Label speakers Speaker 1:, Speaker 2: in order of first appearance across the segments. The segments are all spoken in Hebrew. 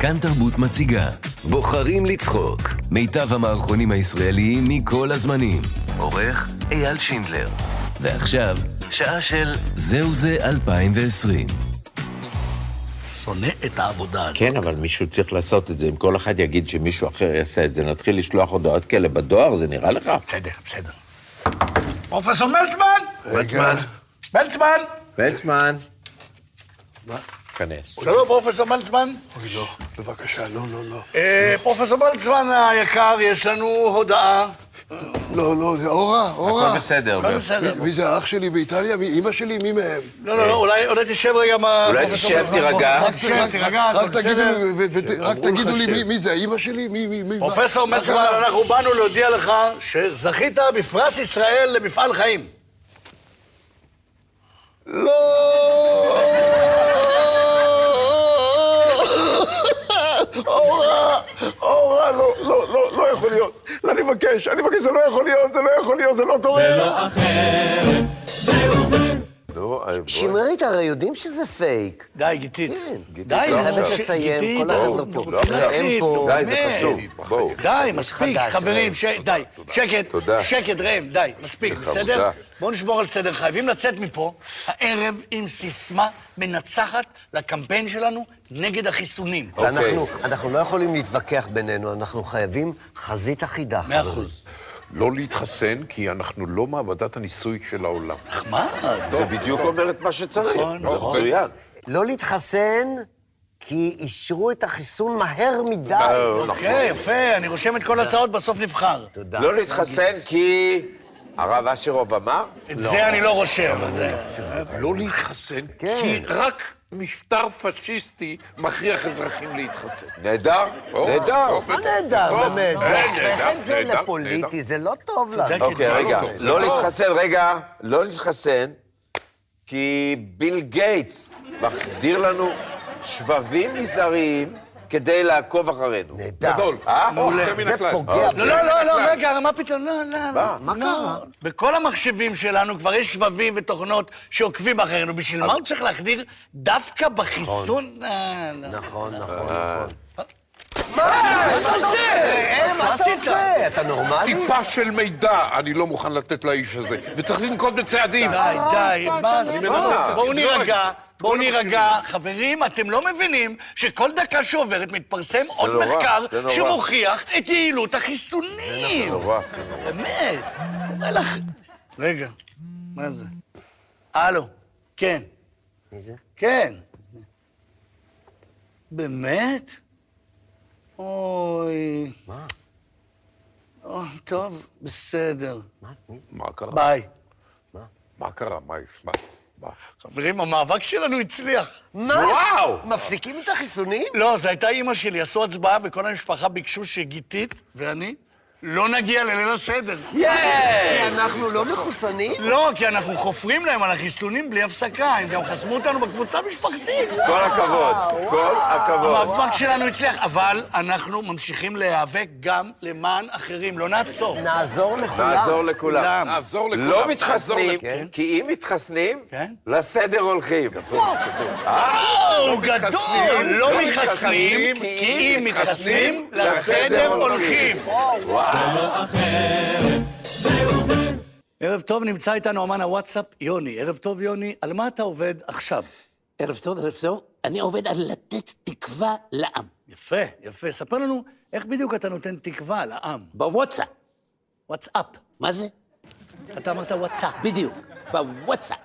Speaker 1: כאן תרבות מציגה בוחרים לצחוק מיטב המערכונים הישראליים מכל הזמנים עורך אייל שינדלר ועכשיו שעה של זהו זה 2020
Speaker 2: שונא את העבודה הזאת.
Speaker 3: כן, אבל מישהו צריך לעשות את זה. אם כל אחד יגיד שמישהו אחר יעשה את זה, נתחיל לשלוח הודעות כאלה בדואר, זה נראה לך?
Speaker 2: בסדר, בסדר. פרופסור מלצמן!
Speaker 3: ולצמן,
Speaker 2: מלצמן!
Speaker 3: ולצמן,
Speaker 4: מה?
Speaker 3: כנס.
Speaker 2: שלום, פרופסור מלצמן.
Speaker 4: אוי, לא. בבקשה, לא, לא, לא.
Speaker 2: אה, פרופסור מלצמן היקר, יש לנו הודעה.
Speaker 4: לא, לא, זה אורה,
Speaker 3: הכל
Speaker 4: אורה.
Speaker 3: בסדר. לא
Speaker 2: הכל בסדר.
Speaker 4: מי- מי זה האח שלי באיטליה? מי אימא שלי? מי מהם?
Speaker 2: לא, לא, לא, אולי אולי תשב רגע עם הפרופסור
Speaker 3: אולי תשב, תירגע.
Speaker 2: רק תשב, אה, תירגע, הכל
Speaker 4: רק תגידו
Speaker 2: בסדר.
Speaker 4: לי, ו- ו- רק
Speaker 3: אמרו לך
Speaker 4: תגידו לי
Speaker 3: ש-
Speaker 4: מי- מי זה, אימא שלי? מי, מי, מי? מה?
Speaker 2: פרופסור
Speaker 4: מה
Speaker 2: מצמן,
Speaker 4: קרה?
Speaker 2: אנחנו באנו להודיע לך שזכית בפרס ישראל למפעל חיים.
Speaker 4: לא! אורה, אורה, לא, לא, לא, לא יכול להיות. אני מבקש, אני מבקש, זה לא יכול להיות, זה לא יכול להיות, זה לא קורה.
Speaker 3: נו, אה, בוא.
Speaker 5: שמרית, הרי יודעים שזה פייק.
Speaker 2: די, גיתית.
Speaker 5: כן.
Speaker 2: די,
Speaker 3: לא
Speaker 2: נו,
Speaker 3: חייבת
Speaker 2: ש-
Speaker 5: לסיים,
Speaker 2: גיתית,
Speaker 5: כל החבר'ה
Speaker 2: נו,
Speaker 5: פה.
Speaker 2: נו, גיתית,
Speaker 5: הם
Speaker 2: נו,
Speaker 5: פה.
Speaker 3: די, זה
Speaker 2: באמת.
Speaker 3: חשוב. בואו.
Speaker 2: די,
Speaker 5: יש
Speaker 2: מספיק,
Speaker 5: חדש,
Speaker 2: חברים,
Speaker 5: ראם.
Speaker 2: ש... די, שקט,
Speaker 3: תודה.
Speaker 2: שקט, ראם, די, מספיק,
Speaker 3: סליחה,
Speaker 2: בסדר?
Speaker 3: תודה.
Speaker 2: בואו נשמור על סדר, חייבים לצאת מפה הערב עם סיסמה מנצחת לקמפיין שלנו נגד החיסונים.
Speaker 5: ואנחנו אנחנו לא יכולים להתווכח בינינו, אנחנו חייבים חזית אחידה.
Speaker 2: מאה
Speaker 5: חברים.
Speaker 2: אחוז.
Speaker 6: לא להתחסן, כי אנחנו לא מעבדת הניסוי של העולם.
Speaker 2: נחמד.
Speaker 3: זה בדיוק אומר את מה שצריך.
Speaker 2: נכון.
Speaker 3: מצוין.
Speaker 5: לא להתחסן, כי אישרו את החיסון מהר מדי. לא
Speaker 3: אה, נכון.
Speaker 2: אוקיי, יפה, אני רושם את כל ההצעות, בסוף נבחר.
Speaker 5: תודה.
Speaker 3: לא להתחסן כי הרב אשרוב אמר?
Speaker 2: את זה אני לא רושם.
Speaker 6: לא להתחסן,
Speaker 5: כן.
Speaker 6: כי רק משטר פשיסטי מכריח אזרחים להתחסן.
Speaker 3: נהדר, נהדר.
Speaker 5: לא נהדר, באמת. זה
Speaker 6: אה,
Speaker 5: הופך את
Speaker 6: נהדר,
Speaker 5: זה
Speaker 6: נהדר,
Speaker 5: לפוליטי,
Speaker 6: נהדר.
Speaker 5: זה לא טוב לנו.
Speaker 3: אוקיי, רגע,
Speaker 6: טוב, זה
Speaker 3: לא
Speaker 6: טוב.
Speaker 3: להתחסן, רגע, לא להתחסן, כי ביל גייטס מחדיר לנו שבבים מזעריים כדי לעקוב אחרינו.
Speaker 5: נהדר.
Speaker 3: אה?
Speaker 6: מעולה.
Speaker 5: אוקיי, זה פוגע.
Speaker 2: לא, לא, לא, לא, רגע, מה פתאום? לא, לא, לא.
Speaker 3: מה
Speaker 2: לא.
Speaker 5: קרה?
Speaker 2: בכל המחשבים שלנו כבר יש שבבים ותוכנות שעוקבים אחרינו. בשביל מה הוא צריך להחדיר דווקא בחיסון? אה, לא.
Speaker 5: נכון, נכון, נכון.
Speaker 2: מה
Speaker 5: אה,
Speaker 2: אה,
Speaker 5: מה אתה
Speaker 2: עשית?
Speaker 5: עושה? אתה נורמלי?
Speaker 6: טיפה של מידע אני לא מוכן לתת לאיש הזה, וצריך לנקוט בצעדים.
Speaker 3: אה,
Speaker 2: די, די, מה זה?
Speaker 6: מנתק.
Speaker 2: בואו
Speaker 6: לא,
Speaker 2: נירגע,
Speaker 6: רגע.
Speaker 2: בואו
Speaker 3: אה,
Speaker 2: נירגע. חברים, אתם לא מבינים שכל דקה שעוברת מתפרסם עוד
Speaker 3: נורא,
Speaker 2: מחקר
Speaker 3: זה נורא.
Speaker 2: שמוכיח את יעילות החיסונים.
Speaker 3: נורא.
Speaker 2: באמת, קורא לך... רגע, מה זה? הלו, כן,
Speaker 5: מי זה?
Speaker 2: כן. באמת? אוי... מה? טוב, בסדר,
Speaker 6: מה קרה?
Speaker 2: ביי.
Speaker 6: מה קרה? מה יש? מה? מה?
Speaker 2: חברים, המאבק שלנו הצליח.
Speaker 5: מה?
Speaker 3: וואו!
Speaker 5: מפסיקים את החיסונים?
Speaker 2: לא, זו הייתה אימא שלי, עשו הצבעה וכל המשפחה ביקשו שגיתית ואני לא נגיע לליל הסדר.
Speaker 5: כי אנחנו לא מחוסנים?
Speaker 2: לא, כי אנחנו חופרים להם על החיסונים בלי הפסקה, הם גם חסמו אותנו בקבוצה המשפחתית.
Speaker 3: כל הכבוד, כל הכבוד.
Speaker 2: המאבק שלנו הצליח, אבל אנחנו ממשיכים להיאבק גם למען אחרים, לא נעצור.
Speaker 5: נעזור לכולם.
Speaker 3: נעזור לכולם.
Speaker 6: נעזור לכולם.
Speaker 3: לא
Speaker 6: נעזור
Speaker 3: מתחסנים,
Speaker 6: לכ-
Speaker 5: כן.
Speaker 3: כי אם מתחסנים,
Speaker 2: כן.
Speaker 3: לסדר הולכים.
Speaker 2: וואו, גדול!
Speaker 6: מתחסנים,
Speaker 2: לא
Speaker 6: לא
Speaker 2: מתחסנים,
Speaker 6: מתחסנים,
Speaker 2: כי אם מתחסנים, לסדר
Speaker 3: לסדר
Speaker 2: הולכים. ערב טוב, נמצא איתנו אמן הוואטסאפ, יוני. ערב טוב, יוני, על מה אתה עובד עכשיו?
Speaker 7: ערב טוב, ערב טוב. אני עובד על לתת תקווה לעם.
Speaker 2: יפה, יפה. ספר לנו איך בדיוק אתה נותן תקווה לעם.
Speaker 7: בוואטסאפ.
Speaker 2: וואטסאפ.
Speaker 7: מה זה? אה,
Speaker 2: אתה אמרת וואטסאפ.
Speaker 7: בדיוק, בוואטסאפ.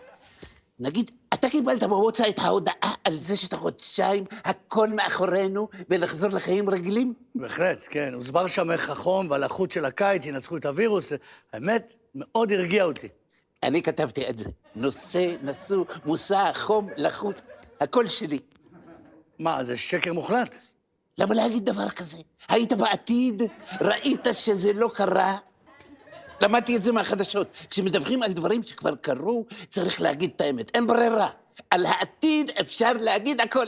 Speaker 7: נגיד, אתה קיבלת בוואטסאפ את ההודעה על זה שאת החודשיים הכל מאחורינו ונחזור לחיים רגילים?
Speaker 2: בהחלט, כן. הוסבר שם איך החום והלחות של הקיץ ינצחו את הווירוס. האמת, מאוד הרגיע אותי.
Speaker 7: אני כתבתי את זה. נושא, נשוא, מושא, חום, לחות, הכל שלי.
Speaker 2: מה, זה שקר מוחלט?
Speaker 7: למה להגיד דבר כזה? היית בעתיד, ראית שזה לא קרה. למדתי את זה מהחדשות. כשמדווחים על דברים שכבר קרו, צריך להגיד את האמת. אין ברירה. על העתיד אפשר להגיד הכל.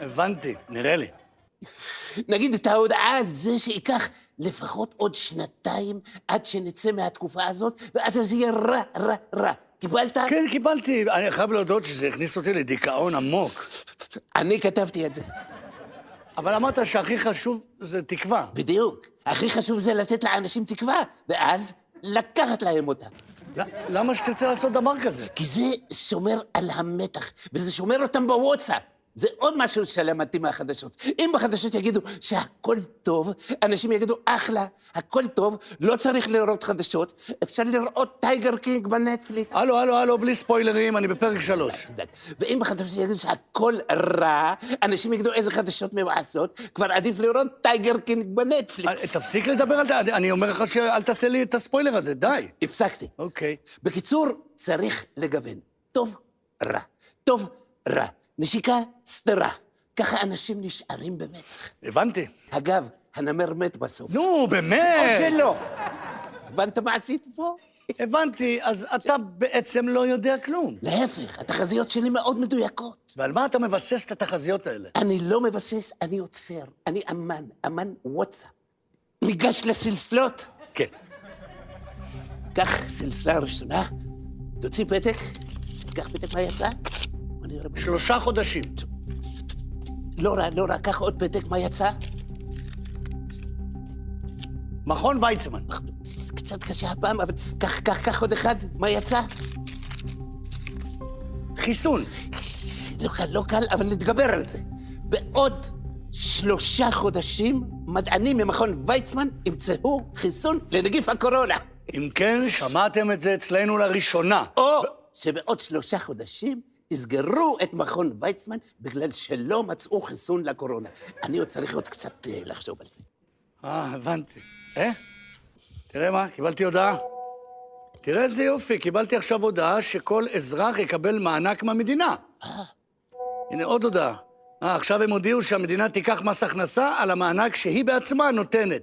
Speaker 2: הבנתי, נראה לי.
Speaker 7: נגיד את ההודעה על זה שייקח לפחות עוד שנתיים עד שנצא מהתקופה הזאת, ועד אז יהיה רע, רע, רע. קיבלת?
Speaker 2: כן, קיבלתי. אני חייב להודות שזה הכניס אותי לדיכאון עמוק.
Speaker 7: אני כתבתי את זה.
Speaker 2: אבל אמרת שהכי חשוב זה תקווה.
Speaker 7: בדיוק. הכי חשוב זה לתת לאנשים תקווה, ואז לקחת להם אותה.
Speaker 2: ל- למה שתרצה לעשות דבר כזה?
Speaker 7: כי זה שומר על המתח, וזה שומר אותם בוואטסאפ. זה עוד משהו שלמדתי מהחדשות. אם בחדשות יגידו שהכל טוב, אנשים יגידו, אחלה, הכל טוב, לא צריך לראות חדשות, אפשר לראות טייגר קינג בנטפליקס.
Speaker 2: הלו, הלו, הלו, בלי ספוילרים, אני בפרק שלוש.
Speaker 7: תדאג. ואם בחדשות יגידו שהכל רע, אנשים יגידו איזה חדשות מבאסות, כבר עדיף לראות טייגר קינג
Speaker 2: אה,
Speaker 7: בנטפליקס.
Speaker 2: תפסיק לדבר על זה, אני- אני אומר לך שאל תעשה לי את הספוילר הזה, די.
Speaker 7: הפסקתי.
Speaker 2: אוקיי.
Speaker 7: בקיצור, צריך לגוון. טוב, רע. טוב, רע. נשיקה, סתרה. ככה אנשים נשארים במתח.
Speaker 2: הבנתי.
Speaker 7: אגב, הנמר מת בסוף.
Speaker 2: נו,
Speaker 7: או
Speaker 2: באמת.
Speaker 7: שלא. הבנת מה עשית פה?
Speaker 2: הבנתי, אז אתה בעצם לא יודע כלום.
Speaker 7: להפך, התחזיות שלי מאוד מדויקות.
Speaker 2: ועל מה אתה מבסס את התחזיות האלה?
Speaker 7: אני לא מבסס, אני עוצר. אני אמן, אמן וואטסאפ. ניגש לסלסלות.
Speaker 2: כן.
Speaker 7: קח סלסלה ראשונה, תוציא פתק, קח פתק מה יצא. בוא נראה מה-
Speaker 2: שלושה חודשים.
Speaker 7: לא רע, לא רע, קח עוד פתק מה יצא.
Speaker 2: מכון ויצמן.
Speaker 7: זה קצת קשה הפעם, אבל קח, קח, קח עוד אחד, מה יצא?
Speaker 2: חיסון.
Speaker 7: זה לא קל, לא קל, אבל נתגבר על זה. בעוד שלושה חודשים, מדענים ממכון ויצמן ימצאו חיסון לנגיף הקורונה.
Speaker 2: אם כן, שמעתם את זה אצלנו לראשונה.
Speaker 7: או שבעוד שלושה חודשים יסגרו את מכון ויצמן בגלל שלא מצאו חיסון לקורונה. אני עוד צריך עוד קצת אה, לחשוב על זה.
Speaker 2: אה, הבנתי. אה? תראה מה, קיבלתי הודעה. תראה איזה יופי, קיבלתי עכשיו הודעה שכל אזרח יקבל מענק מהמדינה. הנה עוד הודעה. אה, עכשיו הם הודיעו שהמדינה תיקח מס הכנסה על המענק שהיא בעצמה נותנת.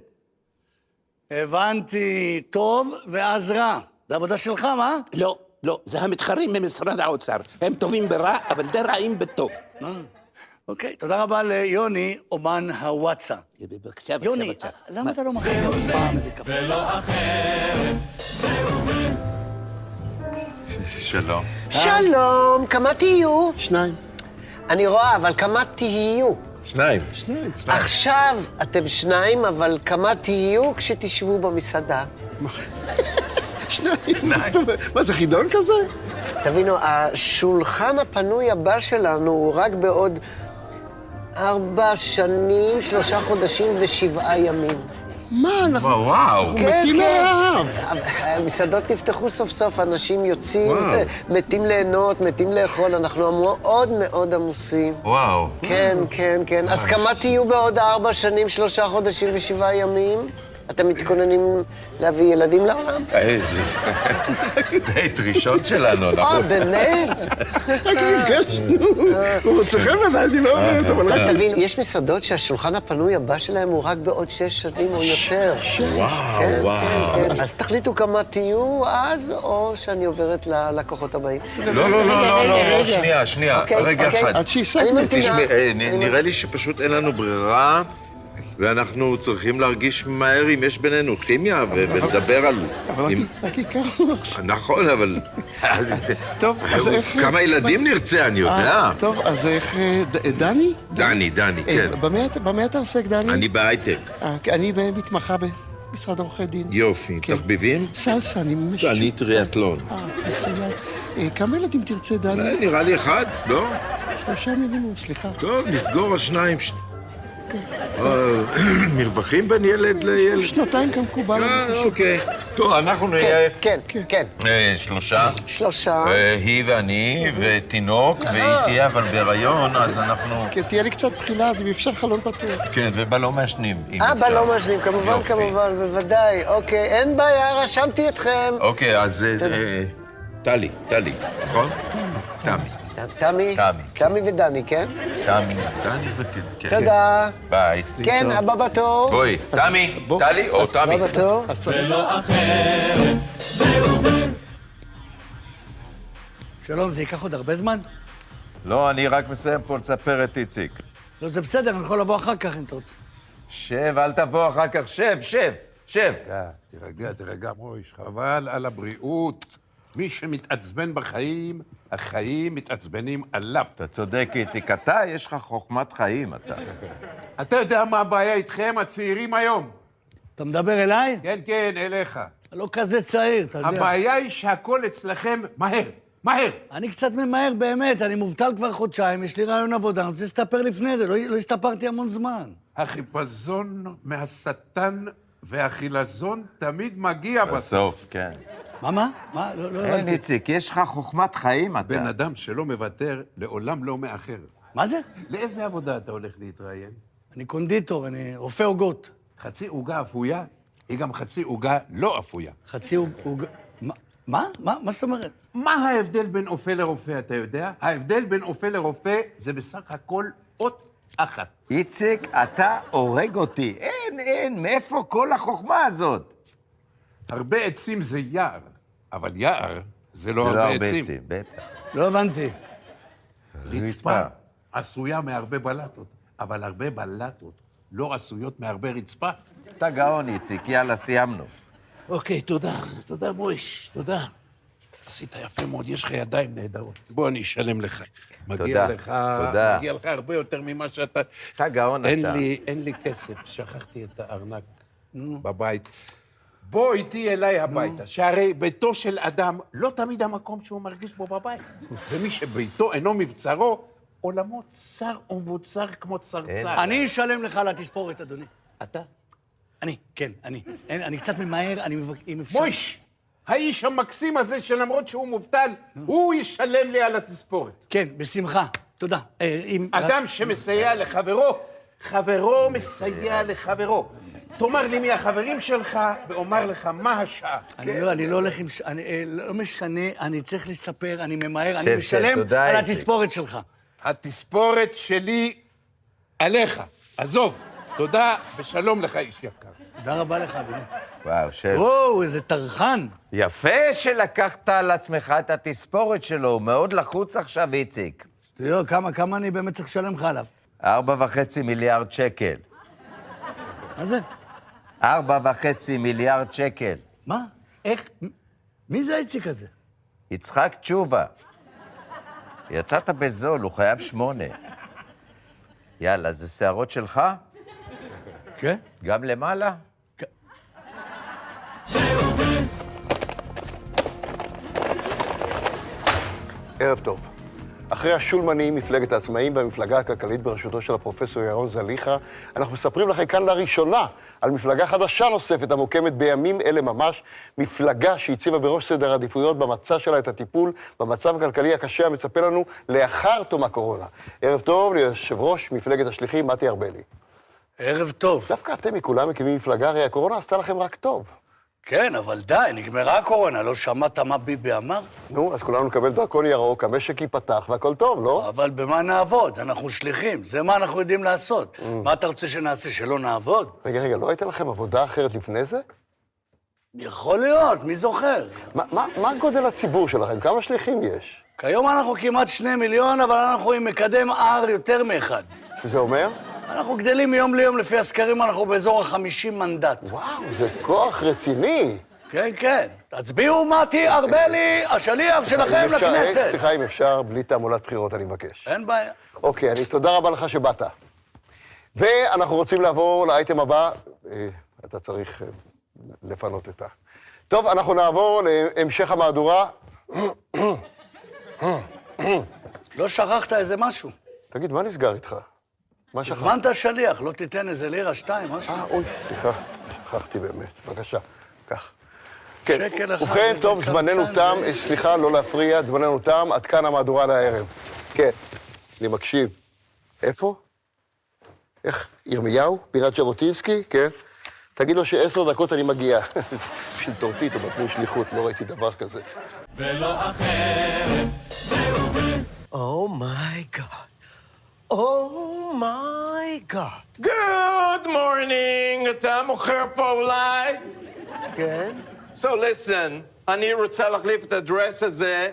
Speaker 2: הבנתי, טוב ואז רע. זה עבודה שלך, מה?
Speaker 7: לא, לא, זה המתחרים ממשרד האוצר. הם טובים ברע, אבל די רעים בטוב.
Speaker 2: אוקיי, תודה רבה ליוני, אומן הוואטסאפ.
Speaker 7: בבקשה, בבקשה,
Speaker 2: יוני,
Speaker 7: בבקשה.
Speaker 4: אה,
Speaker 2: למה אתה לא מכין עוד פעם איזה קפה?
Speaker 8: שלום.
Speaker 5: שלום, כמה תהיו? שניים. אני רואה, אבל כמה תהיו?
Speaker 8: שניים.
Speaker 5: עכשיו אתם שניים, אבל כמה תהיו כשתשבו במסעדה?
Speaker 4: מה זה חידון כזה?
Speaker 5: תבינו, השולחן הפנוי הבא שלנו הוא רק בעוד ארבע שנים, שלושה חודשים ושבעה ימים.
Speaker 4: מה, אנחנו
Speaker 8: וואו.
Speaker 4: מתים מרעב.
Speaker 5: כן, המסעדות נפתחו סוף סוף, אנשים יוצאים, מתים ליהנות, מתים לאכול, אנחנו מאוד מאוד עמוסים.
Speaker 8: וואו.
Speaker 5: כן, כן, כן. אז כמה תהיו בעוד ארבע שנים, שלושה חודשים ושבעה ימים? אתם מתכוננים להביא ילדים לעולם?
Speaker 8: איזה... דייט ראשון שלנו,
Speaker 5: אה,
Speaker 8: אנחנו...
Speaker 5: באמת?
Speaker 4: רק נפגשנו. הוא מוצא חן בעיניי, אני לא אוהבת, אבל רק...
Speaker 5: אבל תבין, יש מסעדות שהשולחן הפנוי הבא שלהם הוא רק בעוד שש שנים או יותר.
Speaker 8: וואו, אה, וואו.
Speaker 5: כן, אז תחליטו כמה תהיו אז, או שאני עוברת ללקוחות הבאים.
Speaker 8: לא, לא, לא, לא, לא, לא, שנייה, שנייה,
Speaker 5: אוקיי,
Speaker 8: רגע
Speaker 5: אוקיי.
Speaker 8: אחד.
Speaker 4: עד שהשגנו.
Speaker 5: אני ממתינה.
Speaker 8: תשמעי, אה,
Speaker 5: אני
Speaker 8: נ- נראה לי שפשוט אין לנו ברירה, ואנחנו צריכים להרגיש מהר אם יש בינינו כימיה, ו- ולדבר על...
Speaker 4: אבל
Speaker 8: אם-
Speaker 4: רק הכרנו עכשיו.
Speaker 8: נכון, אבל... אה,
Speaker 4: טוב, אז איך...
Speaker 8: כמה ילדים נרצה, אני יודע.
Speaker 4: אה, טוב, אז איך... אה, ד- אה, דני?
Speaker 8: דני, דני,
Speaker 4: אה,
Speaker 8: כן.
Speaker 4: במה אתה- במה אתה עוסק, דני?
Speaker 8: אני בהייטק.
Speaker 4: אה, כי אני מתמחה במשרד עורכי דין.
Speaker 8: יופי,
Speaker 4: כן.
Speaker 8: תחביבים?
Speaker 4: סלסה, אני ממש...
Speaker 8: אני טריאטלון. אה,
Speaker 4: אה, מצוין. אה, כמה ילדים תרצה, דני?
Speaker 8: נראה לי אחד, לא?
Speaker 4: שלושה מינימום, סליחה.
Speaker 8: טוב, נסגור על שניים. ש-
Speaker 4: כן.
Speaker 8: אה, מרווחים בין ילד לילד?
Speaker 4: שנתיים כמקובל.
Speaker 8: אה, אוקיי. טוב, אנחנו נהיה...
Speaker 5: כן, כן, כן.
Speaker 8: אה, שלושה.
Speaker 5: שלושה.
Speaker 8: אה, היא ואני, ותינוק,
Speaker 5: אה.
Speaker 8: והיא תהיה אבל בהיריון, אז אנחנו...
Speaker 4: כן, תהיה לי קצת בחילה, אז אם אפשר חלון פתוח.
Speaker 8: כן, ובלום מעשנים. אם
Speaker 5: אבא
Speaker 8: אפשר.
Speaker 5: לא משלים, כמובן,
Speaker 8: אה, יופי.
Speaker 5: כמובן, בוודאי. אוקיי, אין בעיה, רשמתי אתכם.
Speaker 8: אוקיי, אז... אה, אה, טלי, טלי, נכון? תמי.
Speaker 5: תמי?
Speaker 8: אוקיי. תמי.
Speaker 5: תמי ודני, כן?
Speaker 8: תמי. תמי וכן. כן.
Speaker 5: תודה.
Speaker 8: ביי.
Speaker 5: כן, הבא בתור.
Speaker 8: בואי, תמי, טלי או
Speaker 6: לא
Speaker 8: תמי.
Speaker 5: הבא בתור.
Speaker 2: שלום, זה ייקח עוד הרבה זמן?
Speaker 9: לא, אני רק מסיים פה לספר את איציק.
Speaker 2: לא, זה בסדר, אני יכול לבוא אחר כך אם אתה רוצה.
Speaker 9: שב, אל תבוא אחר כך, שב, שב, שב.
Speaker 6: כן. אה, תירגע, תירגע, תירגע, מויש. חבל על הבריאות. מי שמתעצבן בחיים, החיים מתעצבנים עליו.
Speaker 10: אתה צודק, איציק. אתה, יש לך חוכמת חיים, אתה.
Speaker 6: אתה יודע מה הבעיה איתכם, הצעירים היום?
Speaker 2: אתה מדבר אליי?
Speaker 6: כן, כן, אליך.
Speaker 2: אתה לא כזה צעיר, אתה יודע.
Speaker 6: הבעיה היא שהכל אצלכם מהר, מהר.
Speaker 2: אני קצת ממהר באמת, אני מובטל כבר חודשיים, יש לי רעיון עבודה, אני רוצה להסתפר לפני זה, לא, לא הסתפרתי המון זמן.
Speaker 6: החיפזון מהשטן והחילזון תמיד מגיע בסוף.
Speaker 10: בסוף, כן.
Speaker 2: מה, מה? מה? לא, לא
Speaker 10: כן,
Speaker 2: הבנתי.
Speaker 10: איציק, יש לך חוכמת חיים, אתה.
Speaker 6: בן אדם שלא מוותר, לעולם לא מאחר.
Speaker 2: מה זה?
Speaker 6: לאיזה עבודה אתה הולך להתראיין?
Speaker 2: אני קונדיטור, אני רופא עוגות.
Speaker 6: חצי עוגה אפויה, היא גם חצי עוגה לא אפויה.
Speaker 2: חצי עוג- עוג... מה? מה? מה? מה זאת אומרת?
Speaker 6: מה ההבדל בין אופה לרופא, אתה יודע? ההבדל בין אופה לרופא זה בסך הכל אות אחת.
Speaker 10: איציק, אתה הורג אותי. אין, אין, מאיפה כל החוכמה הזאת?
Speaker 6: הרבה עצים זה יער, אבל יער זה לא
Speaker 10: זה לא
Speaker 6: הרבה עצים.
Speaker 10: עצים, בטח.
Speaker 2: לא הבנתי.
Speaker 6: רצפה עשויה מהרבה בלטות, אבל הרבה בלטות לא עשויות מהרבה רצפה.
Speaker 10: אתה גאון, איציק, יאללה, סיימנו.
Speaker 6: אוקיי, תודה. תודה, מויש. תודה. עשית יפה מאוד, יש לך ידיים נהדרות. בוא, אני אשלם לך. מגיע
Speaker 10: תודה,
Speaker 6: לך,
Speaker 10: תודה.
Speaker 6: מגיע לך הרבה יותר ממה שאתה...
Speaker 10: אתה גאון,
Speaker 6: אין
Speaker 10: אתה.
Speaker 6: לי, אין לי כסף, שכחתי את הארנק בבית. בוא איתי אליי הביתה, שהרי ביתו של אדם לא תמיד המקום שהוא מרגיש בו בבית. ומי שביתו אינו מבצרו, עולמו צר ומבוצר כמו צרצר.
Speaker 2: אני אשלם לך על התספורת, אדוני.
Speaker 6: אתה?
Speaker 2: אני, כן, אני. אין, אני קצת ממהר, אני מבק... אם אפשר...
Speaker 6: מויש, האיש המקסים הזה שלמרות שהוא מובטל, הוא ישלם לי על התספורת.
Speaker 2: כן, בשמחה. תודה. אה, אם...
Speaker 6: אדם שמסייע לחברו, חברו מסייע לחברו. תאמר לי מי החברים שלך, ואומר לך מה השעה.
Speaker 2: אני לא, אני לא הולך עם... ש- אני, אה, לא משנה, אני צריך להסתפר, אני ממהר, אני
Speaker 10: שב,
Speaker 2: משלם
Speaker 10: תודה,
Speaker 2: על
Speaker 10: איציק.
Speaker 2: התספורת שלך.
Speaker 6: התספורת שלי עליך. עזוב. תודה ושלום לך, איש יקר.
Speaker 2: תודה רבה לך, אדוני.
Speaker 10: וואו, שב.
Speaker 2: וואו, איזה טרחן.
Speaker 10: יפה שלקחת על עצמך את התספורת שלו, הוא מאוד לחוץ עכשיו, איציק.
Speaker 2: תראה, כמה, כמה אני באמת צריך לשלם לך עליו?
Speaker 10: ארבע וחצי מיליארד שקל.
Speaker 2: מה זה?
Speaker 10: ארבע וחצי מיליארד שקל.
Speaker 2: מה? איך? מ- מי זה האיציק הזה?
Speaker 10: יצחק תשובה. יצאת בזול, הוא חייב שמונה. יאללה, זה שערות שלך?
Speaker 2: כן?
Speaker 10: גם למעלה?
Speaker 4: ערב טוב. אחרי השולמנים, מפלגת העצמאים והמפלגה הכלכלית בראשותו של הפרופסור ירון זליכה, אנחנו מספרים לכם כאן לראשונה על מפלגה חדשה נוספת המוקמת בימים אלה ממש, מפלגה שהציבה בראש סדר העדיפויות במצע שלה את הטיפול במצב הכלכלי הקשה המצפה לנו לאחר תום הקורונה. ערב טוב ליושב ראש מפלגת השליחים מתי ארבלי.
Speaker 2: ערב טוב.
Speaker 4: דווקא אתם מכולם מקימים מפלגה, הרי הקורונה עשתה לכם רק טוב.
Speaker 2: כן, אבל די, נגמרה הקורונה, לא שמעת מה ביבי אמר?
Speaker 4: נו, אז כולנו נקבל דרכון ירוק, המשק ייפתח והכל טוב, לא?
Speaker 2: אבל במה נעבוד? אנחנו שליחים, זה מה אנחנו יודעים לעשות.
Speaker 10: Mm.
Speaker 2: מה אתה רוצה שנעשה, שלא נעבוד?
Speaker 4: רגע, רגע, לא הייתה לכם עבודה אחרת לפני זה?
Speaker 2: יכול להיות, מי זוכר?
Speaker 4: מה, מה, מה גודל הציבור שלכם? כמה שליחים יש?
Speaker 2: כיום אנחנו כמעט שני מיליון, אבל אנחנו עם מקדם R יותר מאחד.
Speaker 4: שזה אומר?
Speaker 2: אנחנו גדלים מיום ליום, לפי הסקרים אנחנו באזור החמישים מנדט.
Speaker 4: וואו, זה כוח רציני.
Speaker 2: כן, כן. תצביעו, מתי ארבלי, השליח שלכם
Speaker 4: אם אפשר- אה,
Speaker 2: לכנסת.
Speaker 4: סליחה, אם אפשר, בלי תעמולת בחירות, אני מבקש.
Speaker 2: אין בעיה.
Speaker 4: אוקיי, אני, תודה רבה לך שבאת. ואנחנו רוצים לעבור לאייטם הבא. אה, אתה צריך אה, לפנות את ה... טוב, אנחנו נעבור להמשך המהדורה.
Speaker 2: לא שכחת איזה משהו.
Speaker 4: תגיד, מה נסגר איתך? מה שכחת?
Speaker 2: הזמנת שליח, לא תיתן איזה לירה שתיים, משהו.
Speaker 4: אה, אוי, סליחה, שכחתי באמת. בבקשה, קח.
Speaker 2: שקל אחד
Speaker 4: ובכן,
Speaker 2: מזה
Speaker 4: טוב,
Speaker 2: קמצן
Speaker 4: זמננו
Speaker 2: זה-
Speaker 4: תם, אה, סליחה, לא להפריע, זמננו תם, עד כאן המהדורה להערב. כן, אני מקשיב. איפה? איך, ירמיהו? פינת ז'בוטינסקי? כן. תגיד לו שעשר דקות אני מגיע. בשביל טורטית, הוא נתנו שליחות, לא ראיתי דבר כזה.
Speaker 5: אומייגאד. אומייגאד.
Speaker 8: Good morning, אתה מוכר פה אולי?
Speaker 5: כן?
Speaker 8: So listen, אני רוצה להחליף את הדרס הזה.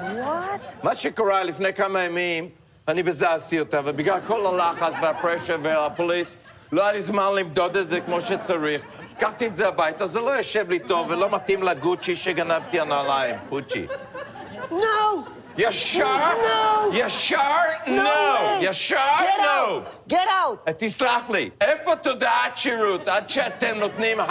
Speaker 5: וואט?
Speaker 8: מה שקרה לפני כמה ימים, אני בזזתי אותה, ובגלל כל הלחץ והפרשר והפוליס, לא היה לי זמן למדוד את זה כמו שצריך. לקחתי את זה הביתה, זה לא יושב לי טוב ולא מתאים לגוצ'י שגנבתי הנעליים, פוצ'י.
Speaker 5: No!
Speaker 8: ישר?
Speaker 5: No.
Speaker 8: ישר? לא.
Speaker 5: way.
Speaker 8: ישר?
Speaker 5: Get
Speaker 8: לא.
Speaker 5: out! Get out!
Speaker 8: תסלח לי, איפה תודעת שירות עד שאתם נותנים 100%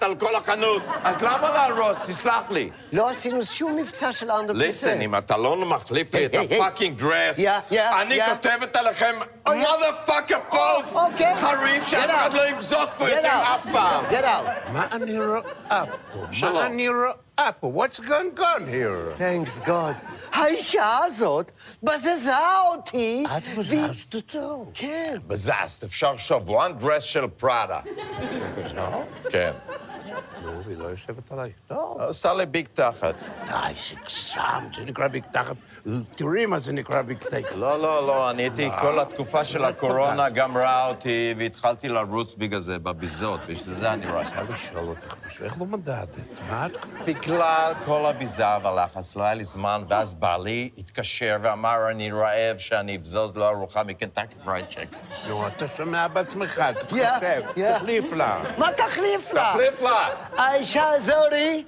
Speaker 8: על כל החנות? אז למה להרוס? תסלח לי.
Speaker 5: לא עשינו שום מבצע של
Speaker 8: ליסן,
Speaker 5: 100%.
Speaker 8: אם אתה לא מחליף לי את
Speaker 5: היי, היי.
Speaker 8: הפאקינג דרס,
Speaker 5: Yeah, yeah,
Speaker 8: אני
Speaker 5: yeah.
Speaker 8: כותבת עליכם
Speaker 5: Oh, yeah.
Speaker 8: מודרפאקר פוסט
Speaker 5: אוקיי.
Speaker 8: חריף
Speaker 5: Get
Speaker 8: שאף
Speaker 5: out.
Speaker 8: אחד לא יבזוז פה
Speaker 5: Get
Speaker 8: יותר אף
Speaker 5: out!
Speaker 8: פעם.
Speaker 5: Get out!
Speaker 6: מה אני רואה פה?
Speaker 8: שלום.
Speaker 6: מה אני רואה פה? What's going on here?
Speaker 5: Thanks God. האישה הזאת בזזה אותי.
Speaker 6: את
Speaker 5: והיא-
Speaker 6: בזזת אותו.
Speaker 5: כן.
Speaker 8: בזזת, אפשר שבוען דרס של פראדה. כן.
Speaker 6: נו, היא לא יושבת עליי. לא.
Speaker 8: עושה לי ביג תחת.
Speaker 6: די, שקשם, זה נקרא בקתחת. תראי מה זה נקרא בקתחת.
Speaker 8: לא, לא, לא, אני הייתי, כל
Speaker 6: לא
Speaker 8: התקופה של הקורונה גמרה אותי, והתחלתי לרוץ בגלל זה, בביזות, בשביל זה אני רץ.
Speaker 6: אני לשאול אותך משהו, איך לא מדדת? מה את...
Speaker 8: בגלל כל הביזה והלחץ, לא היה לי זמן, ואז בעלי התקשר ואמר, אני רעב שאני אבזוז לו ארוחה מקנטקי פרייד צ'ק.
Speaker 6: נו, אתה שומע בעצמך,
Speaker 5: יא,
Speaker 6: תתחשב,
Speaker 5: יא.
Speaker 6: תחליף לה.
Speaker 5: מה תחליף לה?
Speaker 8: תחליף לה!
Speaker 5: האישה הזאת היא-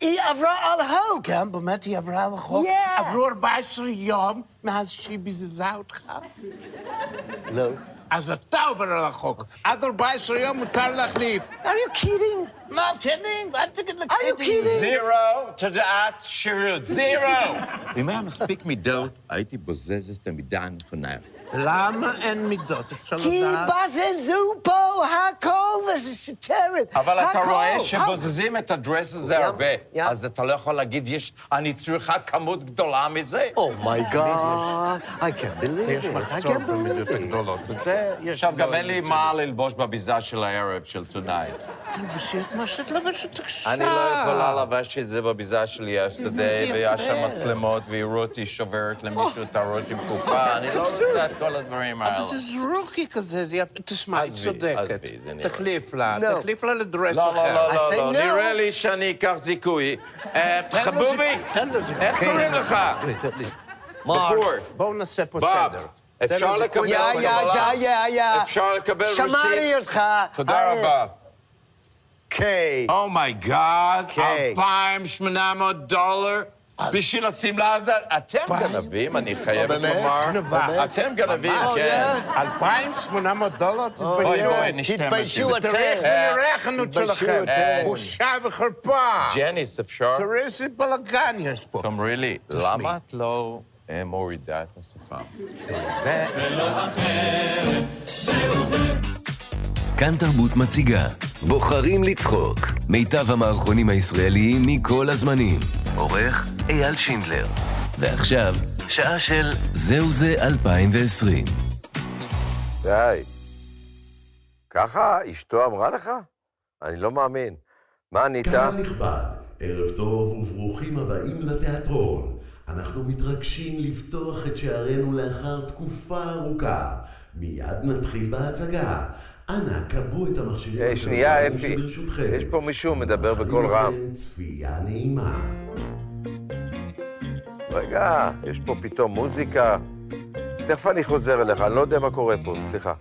Speaker 5: היא עברה על החוק.
Speaker 6: גם באמת היא עברה על החוק?
Speaker 5: Yeah.
Speaker 6: עברו 14 יום מאז שהיא ביזזה אותך?
Speaker 5: לא.
Speaker 6: אז אתה עובר על החוק. עד 14 יום מותר להחליף.
Speaker 5: Are you kidding?
Speaker 6: מה, קנינג? אל תגיד
Speaker 5: Are you kidding?
Speaker 8: זירו תודעת שירות, זירו! אם היה מספיק מידות, הייתי בוזז את המידה הנכונה.
Speaker 6: למה אין מידות? אפשר
Speaker 5: כי
Speaker 6: לדעת.
Speaker 5: בזזו פה הכל וזה סטרט.
Speaker 8: אבל אתה
Speaker 5: הכל,
Speaker 8: רואה
Speaker 5: הכל.
Speaker 8: שבוזזים את הדרס הזה
Speaker 5: ים,
Speaker 8: הרבה,
Speaker 5: ים.
Speaker 8: אז אתה לא יכול להגיד, "יש- אני צריכה כמות גדולה מזה.
Speaker 5: Oh my
Speaker 8: אה,
Speaker 5: God, I can't believe
Speaker 6: יש
Speaker 5: it. I
Speaker 6: מחסור
Speaker 5: can't
Speaker 6: במידות
Speaker 5: believe it.
Speaker 6: הגדולות. וזה, יש...
Speaker 8: עכשיו, גם אין לי
Speaker 6: מידות.
Speaker 8: מה ללבוש בביזה של הערב של טונאי.
Speaker 6: תלבשי את מה שאת לבשת עכשיו.
Speaker 8: אני לא יכולה לבש את זה בביזה שלי יסטרדי,
Speaker 6: זה
Speaker 8: והיה
Speaker 6: יפה.
Speaker 8: שם מצלמות, ויראו אותי שוברת למישהו את הראש עם קופה, אני לא רוצה את כל הדברים האלה.
Speaker 6: אבל זה זרוקי כזה, זה יפה. תשמע, היא
Speaker 8: עזבי,
Speaker 6: צודקת.
Speaker 8: עזבי, זה נראה.
Speaker 6: תחליף לה,
Speaker 5: לא.
Speaker 6: תחליף לה לדרס
Speaker 8: לא, לא,
Speaker 6: אחר.
Speaker 8: לא,
Speaker 5: I
Speaker 8: לא,
Speaker 5: say
Speaker 8: לא,
Speaker 5: no.
Speaker 8: נראה לי שאני אקח זיכוי. אה,
Speaker 6: תן לו
Speaker 8: חבובי,
Speaker 6: זיכוי, תן לו זיכוי.
Speaker 8: איך
Speaker 6: כן.
Speaker 8: קוראים לך?
Speaker 5: אה,
Speaker 8: בחור,
Speaker 6: מרק, בואו נעשה פה
Speaker 8: בב,
Speaker 6: סדר.
Speaker 8: אפשר לקבל
Speaker 5: יא, יא,
Speaker 8: קבלה?
Speaker 5: יא, יא, יא.
Speaker 8: אפשר לקבל רוסית?
Speaker 5: שמעתי אותך.
Speaker 8: תודה
Speaker 5: אה,
Speaker 8: רבה. Oh
Speaker 6: אוקיי.
Speaker 5: קיי.
Speaker 8: אומייגאד,
Speaker 5: כן.
Speaker 8: 2,800 דולר בשביל השמלה הזאת. אתם גנבים, אני
Speaker 5: לא,
Speaker 8: חייבת
Speaker 6: באמת?
Speaker 8: לומר. אה,
Speaker 6: גנבה.
Speaker 8: אתם גנבים, כן.
Speaker 6: 2,800 דולר
Speaker 8: אוי,
Speaker 6: תתביישו.
Speaker 8: אוי, נשתה
Speaker 5: אה, תתביישו
Speaker 8: משהו.
Speaker 5: אתם.
Speaker 6: תראה איך זה
Speaker 8: אה,
Speaker 6: נראה החנות
Speaker 5: תתביישו
Speaker 6: שלכם.
Speaker 5: אתם.
Speaker 6: בושה וחרפה.
Speaker 8: ג'ניס, אפשר?
Speaker 6: תראה איזה בלאגן יש פה.
Speaker 8: תאמרי לי, למה את לא אה, מורידה את השפה?
Speaker 1: כאן תרבות מציגה בוחרים לצחוק מיטב המערכונים הישראליים מכל הזמנים עורך אייל שינדלר ועכשיו שעה של זהו זה 2020
Speaker 10: די. ככה אשתו אמרה לך? אני לא מאמין. מה ענית?
Speaker 11: קהל נכבד, ערב טוב וברוכים הבאים לתיאטרון. אנחנו מתרגשים לפתוח את שערינו לאחר תקופה ארוכה. מיד נתחיל בהצגה. אנא, כבו את המכשירים
Speaker 10: אה, שנייה,
Speaker 11: הסלולריים
Speaker 10: אפי.
Speaker 11: שברשותכם.
Speaker 10: יש פה מישהו מדבר
Speaker 11: מאחלים
Speaker 10: בקול רם.
Speaker 11: לכם צפייה נעימה.
Speaker 10: רגע, יש פה פתאום מוזיקה. תכף אני חוזר אליך, אני לא יודע מה קורה פה, סליחה.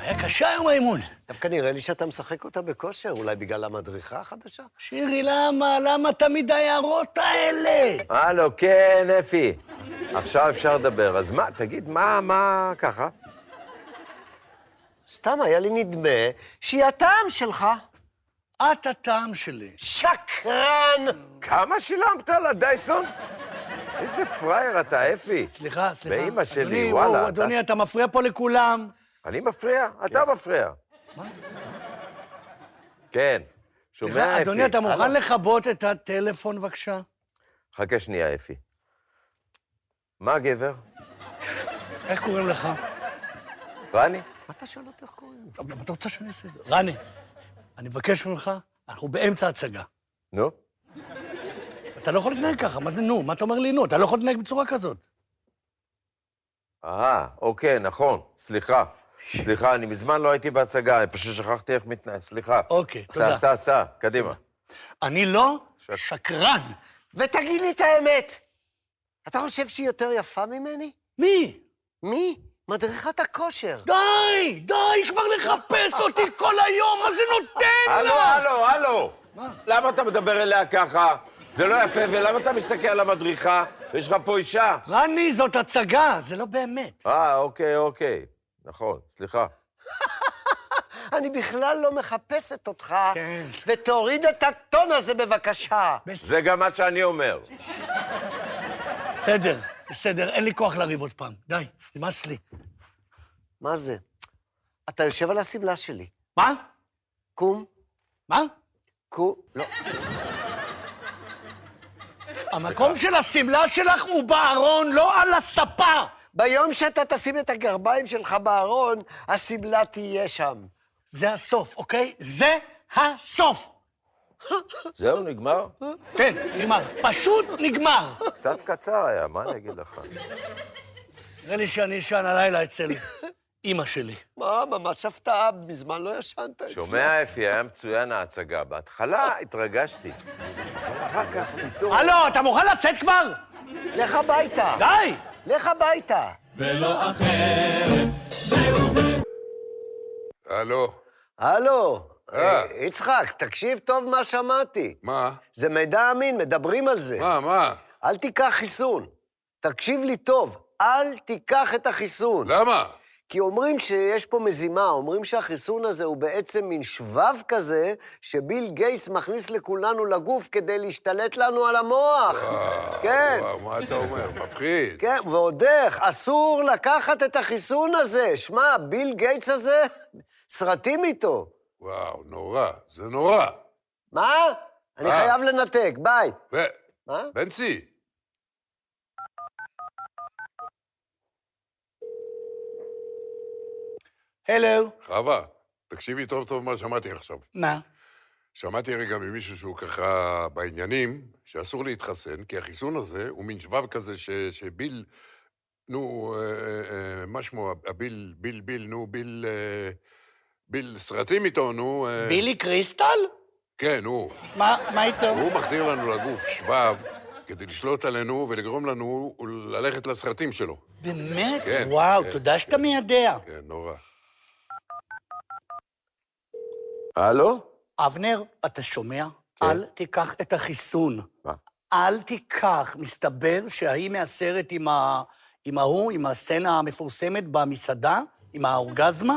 Speaker 2: היה קשה היום האימון.
Speaker 5: דווקא נראה לי שאתה משחק אותה בכושר, אולי בגלל המדריכה החדשה?
Speaker 2: שירי, למה? למה תמיד ההערות האלה?
Speaker 10: הלו, כן, אפי. עכשיו אפשר לדבר. אז מה, תגיד, מה, מה ככה?
Speaker 5: סתם היה לי נדמה שהיא הטעם שלך.
Speaker 2: את הטעם שלי.
Speaker 5: שקרן!
Speaker 10: כמה שילמת על הדייסון? איזה פראייר אתה, אפי.
Speaker 2: סליחה, סליחה.
Speaker 10: באמא שלי,
Speaker 2: אדוני,
Speaker 10: וואלה,
Speaker 2: וואו,
Speaker 10: אתה-
Speaker 2: אדוני, אתה מפריע פה לכולם.
Speaker 10: אני מפריע? אתה מפריע. כן. שומע,
Speaker 2: סליחה,
Speaker 10: אפי?
Speaker 2: אדוני, אתה
Speaker 10: הלו.
Speaker 2: מוכן לכבות את הטלפון, בבקשה?
Speaker 10: חכה שנייה, אפי. מה, גבר?
Speaker 2: איך קוראים לך?
Speaker 10: רני?
Speaker 5: אתה שואל אותי איך קוראים?
Speaker 2: טוב, למה אתה רוצה שאני אעשה את זה? רני, אני מבקש ממך, אנחנו באמצע הצגה.
Speaker 10: נו?
Speaker 2: אתה לא יכול להתנהג ככה, מה זה נו? מה אתה אומר לי נו? אתה לא יכול להתנהג בצורה כזאת.
Speaker 10: אה, אוקיי, נכון. סליחה. סליחה, אני מזמן לא הייתי בהצגה, אני פשוט שכחתי איך מתנהל. סליחה.
Speaker 2: אוקיי, תודה.
Speaker 10: סע, סע, סע, קדימה.
Speaker 2: אני לא שקרן.
Speaker 5: ותגיד לי את האמת, אתה חושב שהיא יותר יפה ממני?
Speaker 2: מי?
Speaker 5: מי? מדריכת הכושר.
Speaker 2: די! די כבר לחפש אותי כל היום, מה זה נותן
Speaker 8: הלו,
Speaker 2: לה?
Speaker 8: הלו, הלו! למה אתה מדבר אליה ככה? זה לא יפה, ולמה אתה מסתכל על המדריכה? יש לך פה אישה.
Speaker 2: רני, זאת הצגה, זה לא באמת.
Speaker 8: אה, אוקיי, אוקיי. נכון, סליחה.
Speaker 5: אני בכלל לא מחפשת אותך.
Speaker 2: כן.
Speaker 5: ותוריד את הטון הזה בבקשה.
Speaker 8: זה גם מה שאני אומר.
Speaker 2: בסדר, בסדר, אין לי כוח לריב עוד פעם. די, נמאס לי.
Speaker 5: מה זה? אתה יושב על השמלה שלי.
Speaker 2: מה?
Speaker 5: קום,
Speaker 2: מה?
Speaker 5: קום. לא.
Speaker 2: המקום של השמלה שלך הוא בארון, לא על הספה!
Speaker 5: ביום שאתה תשים את הגרביים שלך בארון, השמלה תהיה שם.
Speaker 2: זה הסוף, אוקיי? זה הסוף!
Speaker 8: זהו, נגמר?
Speaker 2: כן, נגמר. פשוט נגמר.
Speaker 8: קצת קצר היה, מה אני אגיד לך?
Speaker 2: נראה לי שאני אשן הלילה אצל אימא שלי.
Speaker 5: מה, ממש הפתעה, מזמן לא ישנת אצלי.
Speaker 8: שומע, אפי, היה מצוין ההצגה. בהתחלה התרגשתי. אחר כך פתאום...
Speaker 2: הלו, אתה מוכן לצאת כבר?
Speaker 5: לך הביתה.
Speaker 2: די!
Speaker 5: לך הביתה.
Speaker 12: הלו,
Speaker 5: הלו,
Speaker 12: אה.
Speaker 5: אה, יצחק, תקשיב טוב מה שמעתי.
Speaker 12: מה?
Speaker 5: זה מידע אמין, מדברים על זה.
Speaker 12: מה, מה?
Speaker 5: אל תיקח חיסון. תקשיב לי טוב, אל תיקח את החיסון.
Speaker 12: למה?
Speaker 5: כי אומרים שיש פה מזימה, אומרים שהחיסון הזה הוא בעצם מין שבב כזה שביל גייס מכניס לכולנו לגוף כדי להשתלט לנו על המוח.
Speaker 12: אה,
Speaker 5: כן.
Speaker 12: וואו, מה אתה אומר? מפחיד.
Speaker 5: כן, ועוד איך, אסור לקחת את החיסון הזה. שמע, ביל גייטס הזה, סרטים איתו.
Speaker 12: וואו, נורא, זה נורא.
Speaker 5: מה? אני
Speaker 12: אה.
Speaker 5: חייב לנתק, ביי.
Speaker 12: ו...
Speaker 5: מה?
Speaker 12: בנצי,
Speaker 2: הלו.
Speaker 12: חווה, תקשיבי טוב טוב מה שמעתי עכשיו.
Speaker 2: מה?
Speaker 12: שמעתי רגע ממישהו שהוא ככה בעניינים, שאסור להתחסן, כי החיסון הזה הוא מין שבב כזה ש, שביל, נו, אה, אה, אה, מה שמו, הביל, ביל, ביל, נו, ביל, אה, ביל סרטים איתו, נו. אה,
Speaker 2: בילי קריסטל?
Speaker 12: כן, הוא.
Speaker 2: מה, מה איתו?
Speaker 12: הוא מחדיר לנו לגוף שבב כדי לשלוט עלינו ולגרום לנו ללכת לסרטים שלו.
Speaker 2: באמת?
Speaker 12: כן,
Speaker 2: וואו,
Speaker 12: כן,
Speaker 2: תודה שאתה מיידע.
Speaker 12: כן, נורא.
Speaker 8: הלו? כן.
Speaker 2: אבנר, אתה שומע? אל תיקח את החיסון.
Speaker 8: מה?
Speaker 2: אל תיקח. מסתבר שההיא מהסרט עם ה... עם ההוא, עם הסצנה המפורסמת במסעדה, עם האורגזמה,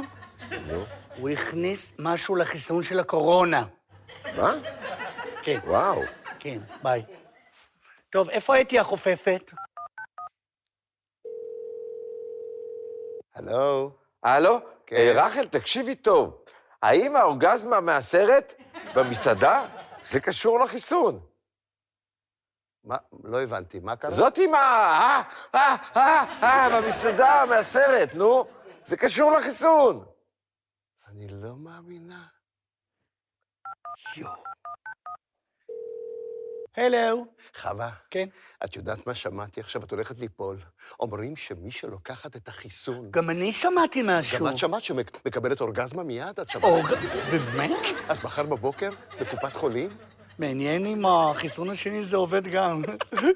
Speaker 2: הוא הכניס משהו לחיסון של הקורונה.
Speaker 8: מה?
Speaker 2: כן.
Speaker 8: וואו.
Speaker 2: כן, ביי. טוב, איפה הייתי החופפת?
Speaker 8: הלו? הלו?
Speaker 4: כן.
Speaker 8: אה, רחל, תקשיבי טוב. האם האורגזמה מהסרט במסעדה? זה קשור לחיסון.
Speaker 4: מה? לא הבנתי, מה קרה?
Speaker 8: זאת עם ה... אה, אה, אה, אה, במסעדה מהסרט, נו. זה קשור לחיסון.
Speaker 4: אני לא מאמינה.
Speaker 2: הלו.
Speaker 4: חווה,
Speaker 2: כן.
Speaker 4: את יודעת מה שמעתי עכשיו? את הולכת ליפול. אומרים שמי שלוקחת את החיסון...
Speaker 2: גם אני שמעתי משהו.
Speaker 4: גם את שמעת שמקבלת אורגזמה מיד? את שמעת?
Speaker 2: אורג... באמת?
Speaker 4: אז מחר בבוקר, בקופת חולים,
Speaker 2: מעניין אם החיסון השני זה עובד גם.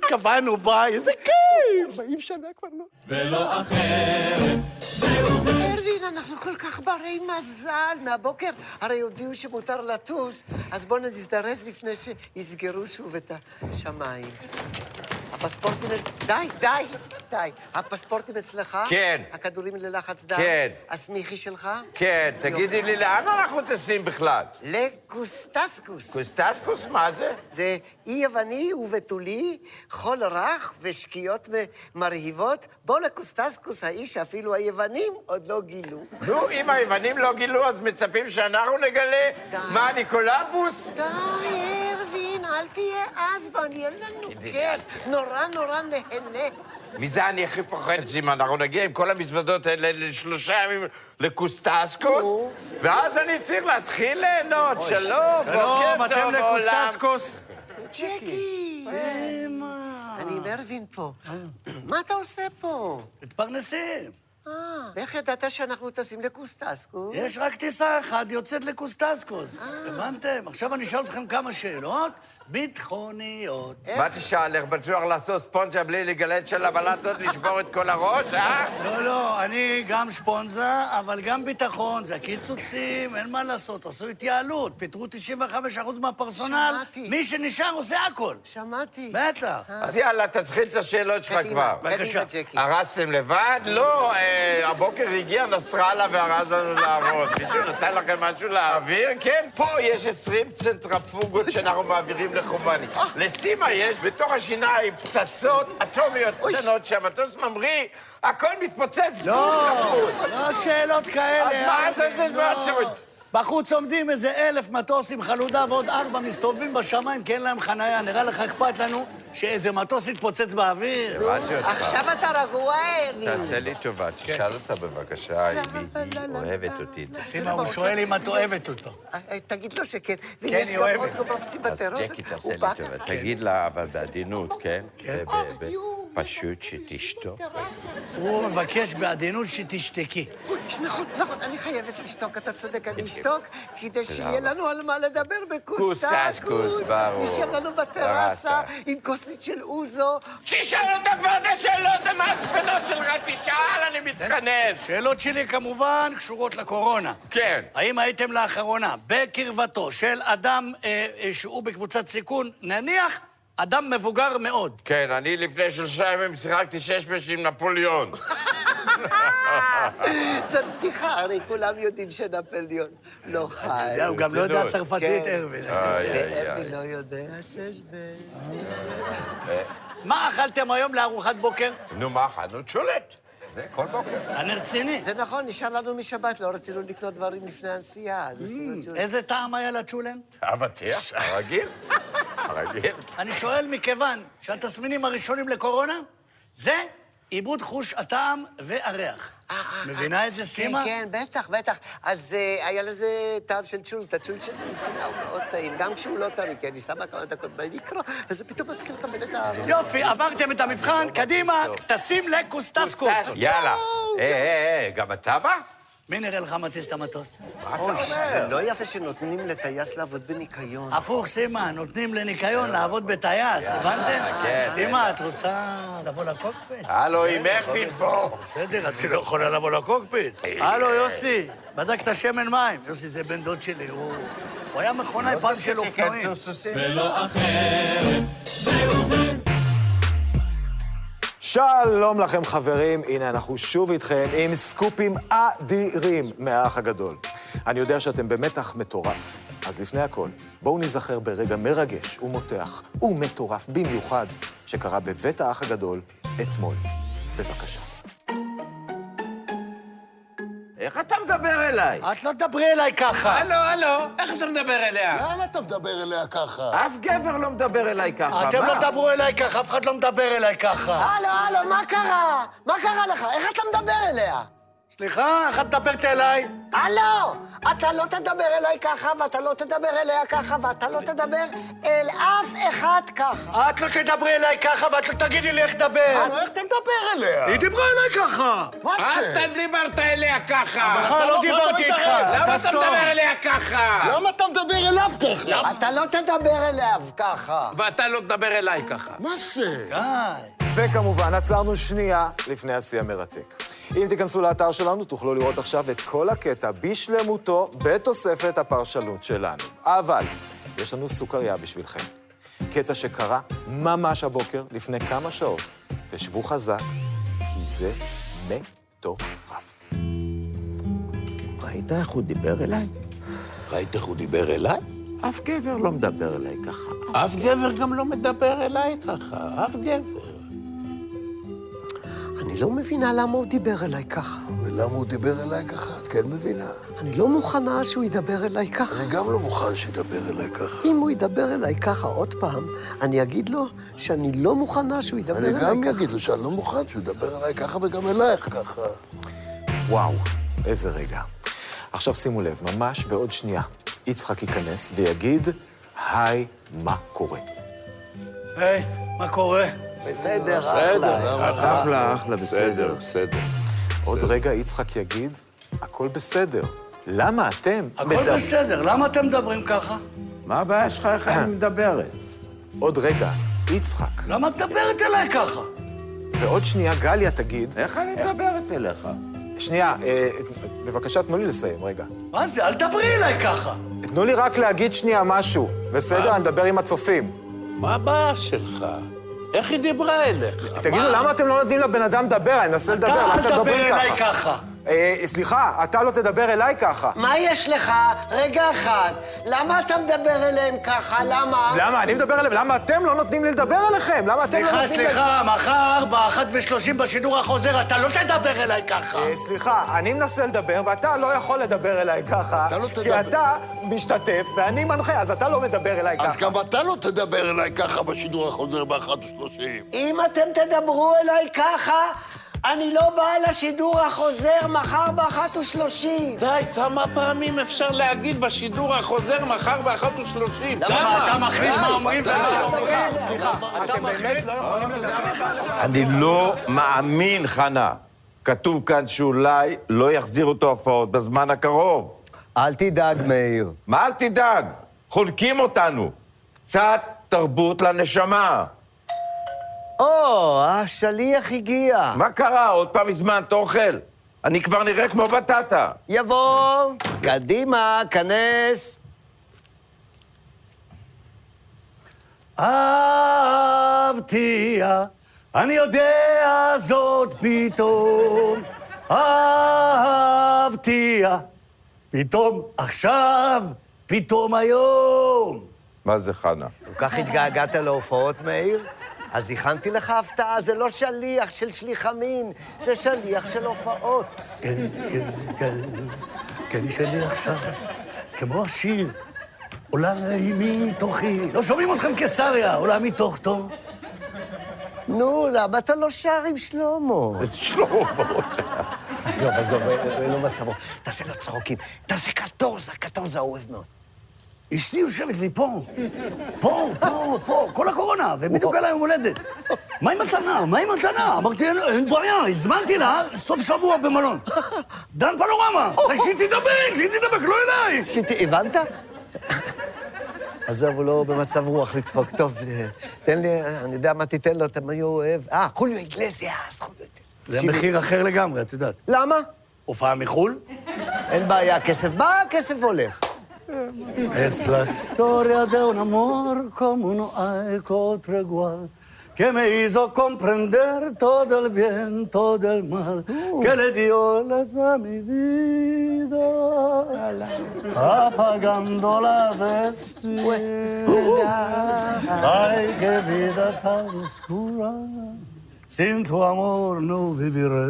Speaker 2: קבענו, ביי, איזה כיף!
Speaker 4: 40 שנה כבר לא.
Speaker 5: פרדין, אנחנו כל כך ברי מזל. מהבוקר הרי הודיעו שמותר לטוס, אז בואו נזדרז לפני שיסגרו שוב את השמיים. הפספורטים... די, די, די. הפספורטים אצלך?
Speaker 8: כן.
Speaker 5: הכדורים ללחץ דם?
Speaker 8: כן.
Speaker 5: הסמיכי שלך?
Speaker 8: כן,
Speaker 5: יופי.
Speaker 8: תגידי לי, לאן אנחנו טסים בכלל?
Speaker 5: לקוסטסקוס.
Speaker 8: קוסטסקוס, מה זה?
Speaker 5: זה אי יווני ובתולי, חול רך ושקיעות מ- מרהיבות. בוא לקוסטסקוס, האיש שאפילו היוונים עוד לא גילו.
Speaker 8: נו, אם היוונים לא גילו, אז מצפים שאנחנו נגלה?
Speaker 5: די.
Speaker 8: מה, ניקולבוס?
Speaker 5: די, ארווין, אל תהיה עצבן, יהיה לנו
Speaker 8: כדי.
Speaker 5: כיף. נורא נורא נהנה.
Speaker 8: מזה אני הכי פוחד, שאם אנחנו נגיע עם כל המזוודות האלה לשלושה ימים לקוסטסקוס,
Speaker 5: נו.
Speaker 8: ואז אני צריך להתחיל ליהנות. שלום, בוקר טוב בעולם.
Speaker 5: צ'קי!
Speaker 8: אה.
Speaker 2: אה,
Speaker 5: אני עם ארווין פה. מה אתה עושה פה?
Speaker 2: מתפרנסים.
Speaker 5: אה, איך ידעת שאנחנו טסים לקוסטסקוס?
Speaker 2: יש אה. רק טיסה אחת יוצאת לקוסטסקוס. הבנתם? עכשיו אני אשאל אתכם כמה שאלות, ביטחוניות.
Speaker 5: אה,
Speaker 8: מה תשאל, איך בטוח לעשות ספונג'ה בלי לגלד של הבלטות, לשבור את כל הראש, אה?
Speaker 2: לא, לא, אני גם שפונזה, אבל גם ביטחון, זה הקיצוצים, אין מה לעשות, עשו התייעלות, פיטרו 95% מהפרסונל,
Speaker 5: שמעתי.
Speaker 2: מי שנשאר עושה הכל.
Speaker 5: שמעתי. אה,
Speaker 2: בטח.
Speaker 8: אז יאללה, תתחיל את השאלות שלך כבר.
Speaker 5: בבקשה.
Speaker 8: הרסתם לבד? לא, אה, הבוקר הגיע נסראללה והרס לנו לעבוד. מישהו נתן לכם משהו להעביר? כן, פה יש 20 צנטרפוגות שאנחנו מעבירים לחומני. לסימה יש בתוך השיניים פצצות אטומיות קטנות שהמטוס ממריא, הכל מתפוצץ.
Speaker 2: לא,
Speaker 8: בום,
Speaker 2: לא שאלות כאלה.
Speaker 8: אז מה זה, זה
Speaker 2: לא.
Speaker 8: בעצמות?
Speaker 2: בחוץ עומדים איזה אלף מטוס עם חלודה ועוד ארבע מסתובבים בשמיים כי אין להם חנייה. נראה לך אכפת לנו שאיזה מטוס יתפוצץ באוויר?
Speaker 8: הבנתי אותך.
Speaker 5: עכשיו אתה רגוע, אלי.
Speaker 8: תעשה לי טובה, תשאל אותה בבקשה, אם היא אוהבת אותי.
Speaker 2: סימה, הוא שואל אם את אוהבת אותו.
Speaker 5: אה, תגיד לו שכן. ויש
Speaker 2: היא
Speaker 5: גם
Speaker 2: אוהבת.
Speaker 5: עוד קומפסים
Speaker 8: אז
Speaker 5: בטרוסת.
Speaker 8: ג'קי תעשה לי טובה, תגיד לה, אבל בעדינות, כן?
Speaker 5: אה,
Speaker 8: ו- ו- ו- פשוט שתשתוק.
Speaker 2: הוא מבקש בעדינות שתשתקי.
Speaker 5: נכון, נכון, אני חייבת לשתוק, אתה צודק, אני
Speaker 8: בדיוק.
Speaker 5: אשתוק, כדי שיהיה לנו על מה לדבר
Speaker 8: כוס,
Speaker 5: בכוסטקוס.
Speaker 8: טס, כוס, ברור.
Speaker 5: נשאר לנו בטרסה
Speaker 8: טרסה.
Speaker 5: עם כוסית של אוזו.
Speaker 8: שישאל אותה כבר את השאלות המעצבנות שלך, תשאל, אני מתחנן.
Speaker 2: שאלות שלי כמובן קשורות לקורונה.
Speaker 8: כן.
Speaker 2: האם הייתם לאחרונה בקרבתו של אדם אה, אה, שהוא בקבוצת סיכון, נניח אדם מבוגר מאוד?
Speaker 8: כן, אני לפני שלושה ימים שיחקתי שש בש עם נפוליאון.
Speaker 5: זאת בדיחה, הרי כולם יודעים שנפליון לא חי.
Speaker 2: הוא גם לא יודע צרפתית,
Speaker 5: כן.
Speaker 2: ארווין.
Speaker 8: איי, איי,
Speaker 5: ואבי
Speaker 8: איי.
Speaker 5: לא יודע שיש ב...
Speaker 2: מה אכלתם היום לארוחת בוקר?
Speaker 8: נו, מה החנות שולט? זה כל בוקר.
Speaker 2: אני רציני.
Speaker 5: זה נכון, נשאר לנו משבת, לא רצינו לקנות דברים לפני הנסיעה, אז עשינו את זה.
Speaker 2: איזה טעם היה לצ'ולן?
Speaker 8: אבטיח, הרגיל. הרגיל.
Speaker 2: אני שואל מכיוון שהתסמינים הראשונים לקורונה זה עיבוד חוש הטעם והריח. מבינה איזה סימה?
Speaker 5: אה, כן, כן, בטח, בטח. אז אה, היה לזה טעם של צ'ול, את הצ'ול של מבחינה, הוא מאוד טעים, גם כשהוא לא טרי, כי אני שמה כמה דקות במיקרו, וזה פתאום מתחיל לקבל את ה...
Speaker 2: יופי, עברתם את המבחן, קדימה, טסים לקוסטסקוס.
Speaker 8: יאללה. אה, אה, אה, גם אתה בא?
Speaker 2: מי נראה לך מטיס את המטוס?
Speaker 5: אוי, זה לא יפה שנותנים לטייס לעבוד בניקיון.
Speaker 2: הפוך, סימה, נותנים לניקיון לעבוד בטייס, הבנתם?
Speaker 8: כן, אה.
Speaker 2: סימה, את רוצה לבוא לקוקפיט?
Speaker 8: הלו, עם מרפיד פה.
Speaker 2: בסדר, את לא יכולה לבוא לקוקפיט.
Speaker 8: אה.
Speaker 2: הלו, יוסי, בדקת שמן מים. יוסי זה בן דוד שלי, הוא... הוא היה מכונאי
Speaker 13: לא
Speaker 2: פעם של אופנועים.
Speaker 13: שלום לכם, חברים. הנה, אנחנו שוב איתכם עם סקופים אדירים מהאח הגדול. אני יודע שאתם במתח מטורף, אז לפני הכל, בואו ניזכר ברגע מרגש ומותח ומטורף במיוחד שקרה בבית האח הגדול אתמול. בבקשה.
Speaker 8: איך אתה מדבר אליי?
Speaker 2: את לא תדברי אליי ככה.
Speaker 8: הלו, הלו, איך אתה מדבר אליה?
Speaker 4: למה אתה מדבר אליה ככה?
Speaker 8: אף גבר לא מדבר אליי ככה.
Speaker 2: אתם
Speaker 8: מה?
Speaker 2: לא תדברו אליי ככה, אף אחד לא מדבר אליי ככה.
Speaker 4: הלו, הלו, מה קרה? מה קרה לך? איך אתה מדבר אליה?
Speaker 2: סליחה, איך את מדברת אליי?
Speaker 4: הלו, אתה לא תדבר אליי ככה, ואתה לא תדבר אליה ככה, ואתה לא תדבר אל אף אחד ככה.
Speaker 2: את לא תדברי אליי ככה ואת לא תגידי לי איך לדבר.
Speaker 5: אה,
Speaker 4: איך אתה מדבר אליה?
Speaker 2: היא דיברה אליי ככה.
Speaker 4: מה זה?
Speaker 8: אתה דיברת אליה ככה.
Speaker 2: בכלל לא
Speaker 4: לא
Speaker 2: דיברתי
Speaker 4: מתערב.
Speaker 2: איתך.
Speaker 8: למה אתה
Speaker 2: תסתום.
Speaker 8: מדבר אליה ככה?
Speaker 4: למה אתה מדבר אליו ככה?
Speaker 5: אתה לא תדבר אליו ככה.
Speaker 8: ואתה לא תדבר אליי ככה.
Speaker 4: מה זה?
Speaker 13: וכמובן, עצרנו שנייה לפני השיא המרתק. אם תיכנסו לאתר שלנו, תוכלו לראות עכשיו את כל הקטע בשלמותו, בתוספת הפרשנות שלנו. אבל יש לנו סוכריה בשבילכם. קטע שקרה ממש הבוקר, לפני כמה שעות. תשבו חזק, כי זה מטורף.
Speaker 8: ראית איך הוא דיבר אליי?
Speaker 4: ראית איך הוא דיבר אליי?
Speaker 8: אף גבר לא מדבר אליי ככה.
Speaker 4: אף גבר גם לא מדבר אליי ככה, אף גבר.
Speaker 5: אני לא מבינה למה הוא דיבר אליי ככה.
Speaker 4: ולמה הוא דיבר אליי ככה? את כן מבינה.
Speaker 5: אני לא מוכנה שהוא ידבר אליי ככה.
Speaker 4: אני גם לא מוכן שידבר אליי ככה.
Speaker 5: אם הוא ידבר אליי ככה עוד פעם, אני אגיד לו שאני לא מוכנה שהוא ידבר
Speaker 4: אני
Speaker 5: אליי ככה.
Speaker 4: גם אגיד לו שאני לא מוכן שהוא ידבר אליי ככה וגם אלייך ככה.
Speaker 13: וואו, איזה רגע. עכשיו שימו לב, ממש בעוד שנייה, יצחק ייכנס ויגיד, היי, מה קורה?
Speaker 2: היי, מה קורה?
Speaker 4: בסדר,
Speaker 5: בסדר,
Speaker 4: אחלה.
Speaker 8: אחלה, אחלה, בסדר.
Speaker 14: בסדר.
Speaker 13: עוד רגע יצחק יגיד, הכל בסדר. למה אתם
Speaker 2: הכל בסדר, למה אתם מדברים ככה?
Speaker 8: מה הבעיה שלך? איך אני מדברת?
Speaker 13: עוד רגע, יצחק. למה את מדברת אליי ככה? ועוד שנייה גליה תגיד... איך אני מדברת אליך? שנייה, אה,
Speaker 4: לא.
Speaker 13: בבקשה תנו לי לסיים רגע.
Speaker 2: מה זה? אל תדברי אליי ככה.
Speaker 13: תנו לי רק להגיד שנייה משהו. בסדר? אני אדבר עם הצופים. מה הבעיה שלך? איך היא דיברה אליך? תגידו, למה אתם לא נותנים לבן אדם לדבר? אני מנסה לדבר, למה
Speaker 2: אל
Speaker 13: אתם
Speaker 2: תדבר
Speaker 13: מדברים
Speaker 2: אליי ככה.
Speaker 13: אה, סליחה, אתה לא תדבר אליי ככה.
Speaker 15: מה יש לך? רגע אחד. למה אתה מדבר אליהם ככה? למה?
Speaker 13: למה? אני מדבר אליהם, למה אתם לא נותנים לי לדבר אליכם? למה אתם לא נותנים
Speaker 2: סליחה,
Speaker 13: לי...
Speaker 2: סליחה, מחר באחת ושלושים בשידור החוזר אתה לא תדבר אליי ככה.
Speaker 13: אה, סליחה, אני מנסה לדבר, ואתה לא יכול לדבר אליי ככה. אתה לא תדבר. כי אתה משתתף ואני מנחה, אז אתה לא מדבר אליי ככה.
Speaker 4: אז גם אתה לא תדבר אליי ככה בשידור החוזר באחת ושלושים.
Speaker 15: אם אתם תדברו אליי ככה, אני לא באה לשידור החוזר מחר באחת ושלושים.
Speaker 16: די, כמה פעמים אפשר להגיד בשידור החוזר מחר באחת ושלושים?
Speaker 2: למה? אתה מחליט מה אומרים ומה לא.
Speaker 13: סליחה, אתם באמת לא יכולים לדבר ככה.
Speaker 8: אני לא מאמין, חנה. כתוב כאן שאולי לא יחזירו את ההופעות בזמן הקרוב.
Speaker 5: אל תדאג, מאיר.
Speaker 8: מה אל תדאג? חונקים אותנו. קצת תרבות לנשמה.
Speaker 5: או, השליח הגיע.
Speaker 8: מה קרה? עוד פעם הזמנת אוכל? אני כבר נראה כמו בטטה.
Speaker 5: יבוא, קדימה, כנס.
Speaker 2: אהבתיה, אני יודע זאת פתאום. אהבתיה, פתאום עכשיו, פתאום היום.
Speaker 8: מה זה חנה?
Speaker 5: כל כך התגעגעת להופעות, מאיר? אז הכנתי לך
Speaker 2: אה,
Speaker 5: הפתעה, זה לא שליח של שליח המין, זה שליח של הופעות.
Speaker 2: כן, כן, כן, כן, שלי עכשיו, כמו השיר, עולה ראי מתוכי. לא שומעים אתכם קיסריה, עולה מתוך תום.
Speaker 5: נו, למה אתה לא שר עם שלמה?
Speaker 8: שלמה.
Speaker 5: עזוב, עזוב, אה, לא מצבו. תעשה לו צחוקים. תעשה קטורזה, קטורזה הוא אוהב מאוד.
Speaker 2: אשתי יושבת לי פה, פה, פה, פה, כל הקורונה, ובדיוק עלה יום הולדת. מה עם מתנה? מה עם מתנה? אמרתי, אין- אין בעיה, הזמנתי לה סוף שבוע במלון. דן פנורמה, רק שהיא תדבק, שהיא תדבק, לא אליי!
Speaker 5: שיטי, הבנת? עזוב, הוא לא במצב רוח לצחוק. טוב, אה, תן לי, אה, אני יודע מה תיתן לו, אתה מה הוא אוהב. אה, חוליו איגלזיאס, חוליו איגלזיאס.
Speaker 2: זה מחיר אחר לגמרי, את יודעת.
Speaker 5: למה?
Speaker 2: הופעה מחו"ל?
Speaker 5: אין בעיה, כסף בא, כסף הולך.
Speaker 2: Es la historia de un amor como no hay que otro igual, que me hizo comprender todo el bien, todo el mal, que le dio las a mi vida, apagando la vestida. Ay, qué vida tan oscura, sin tu amor no viviré.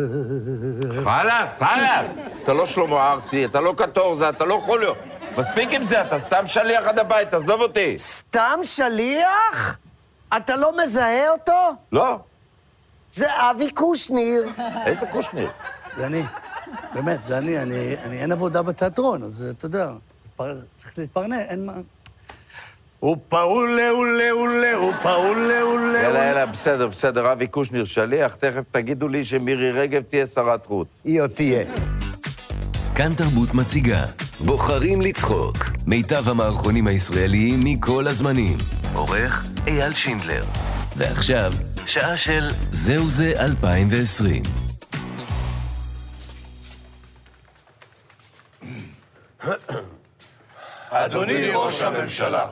Speaker 8: חלאס, חלאס. אתה לא שלמה ארצי, אתה לא קטורזה, אתה לא חוליו. מספיק עם זה, אתה סתם שליח עד הבית, עזוב אותי.
Speaker 5: סתם שליח? אתה לא מזהה אותו?
Speaker 8: לא.
Speaker 5: זה אבי קושניר.
Speaker 8: איזה קושניר?
Speaker 2: זה אני, באמת, זה אני, אני, אני אין עבודה בתיאטרון, אז אתה יודע, פר- צריך להתפרנס, אין מה. אופה אולה אולה אולה, אופה אולה אולה.
Speaker 8: יאללה, יאללה, בסדר, בסדר, אבי קושניר שליח, תכף תגידו לי שמירי רגב תהיה שרת חוץ.
Speaker 5: היא עוד תהיה.
Speaker 1: כאן תרבות מציגה בוחרים לצחוק מיטב המערכונים הישראליים מכל הזמנים עורך אייל שינדלר ועכשיו שעה של זהו זה 2020
Speaker 17: אדוני ראש הממשלה,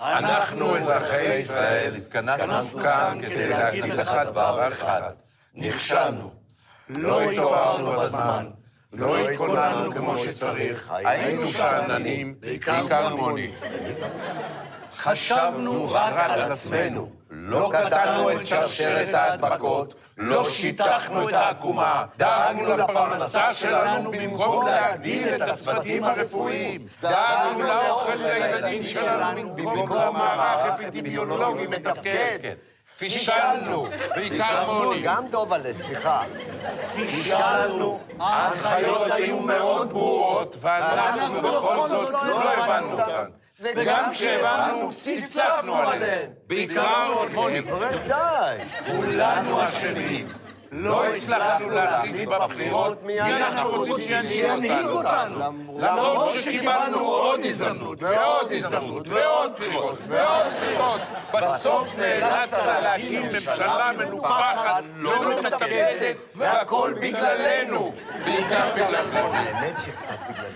Speaker 6: אנחנו,
Speaker 17: אזרחי ישראל,
Speaker 6: התכנסנו כאן כדי להגיד לך דבר אחד. נכשלנו. לא התעוררנו בזמן. לא התכוננו כמו שצריך. היינו שאננים, בעיקר כמוני.
Speaker 2: חשבנו
Speaker 6: רק על עצמנו. לא קטענו את שרשרת ההדבקות, לא שיטחנו את העקומה, דאגנו לפרנסה שלנו במקום להגדיל את הצוותים הרפואיים, דאגנו לאוכל לילדים שלנו במקום מערך אפידמיולוגי מתפקד. פישלנו, בעיקר מוני.
Speaker 5: גם דובלה, סליחה.
Speaker 6: פישלנו, ההנחיות היו מאוד ברורות, ואנחנו בכל זאת לא הבנו אותן. וגם כשהבנו, צפצפנו עליהן. בעיקר עוד מוני.
Speaker 5: די.
Speaker 6: כולנו אשמים. לא הצלחנו להחליט בבחירות מי אנחנו רוצים שינהיג אותנו. למרות שקיבלנו עוד הזדמנות, ועוד הזדמנות, ועוד בחירות, ועוד בחירות. בסוף נאלצת להקים ממשלה מנופחת, לא מתפקדת, והכל בגללנו. בעיקר בגללנו.
Speaker 5: האמת שקצת בגללי.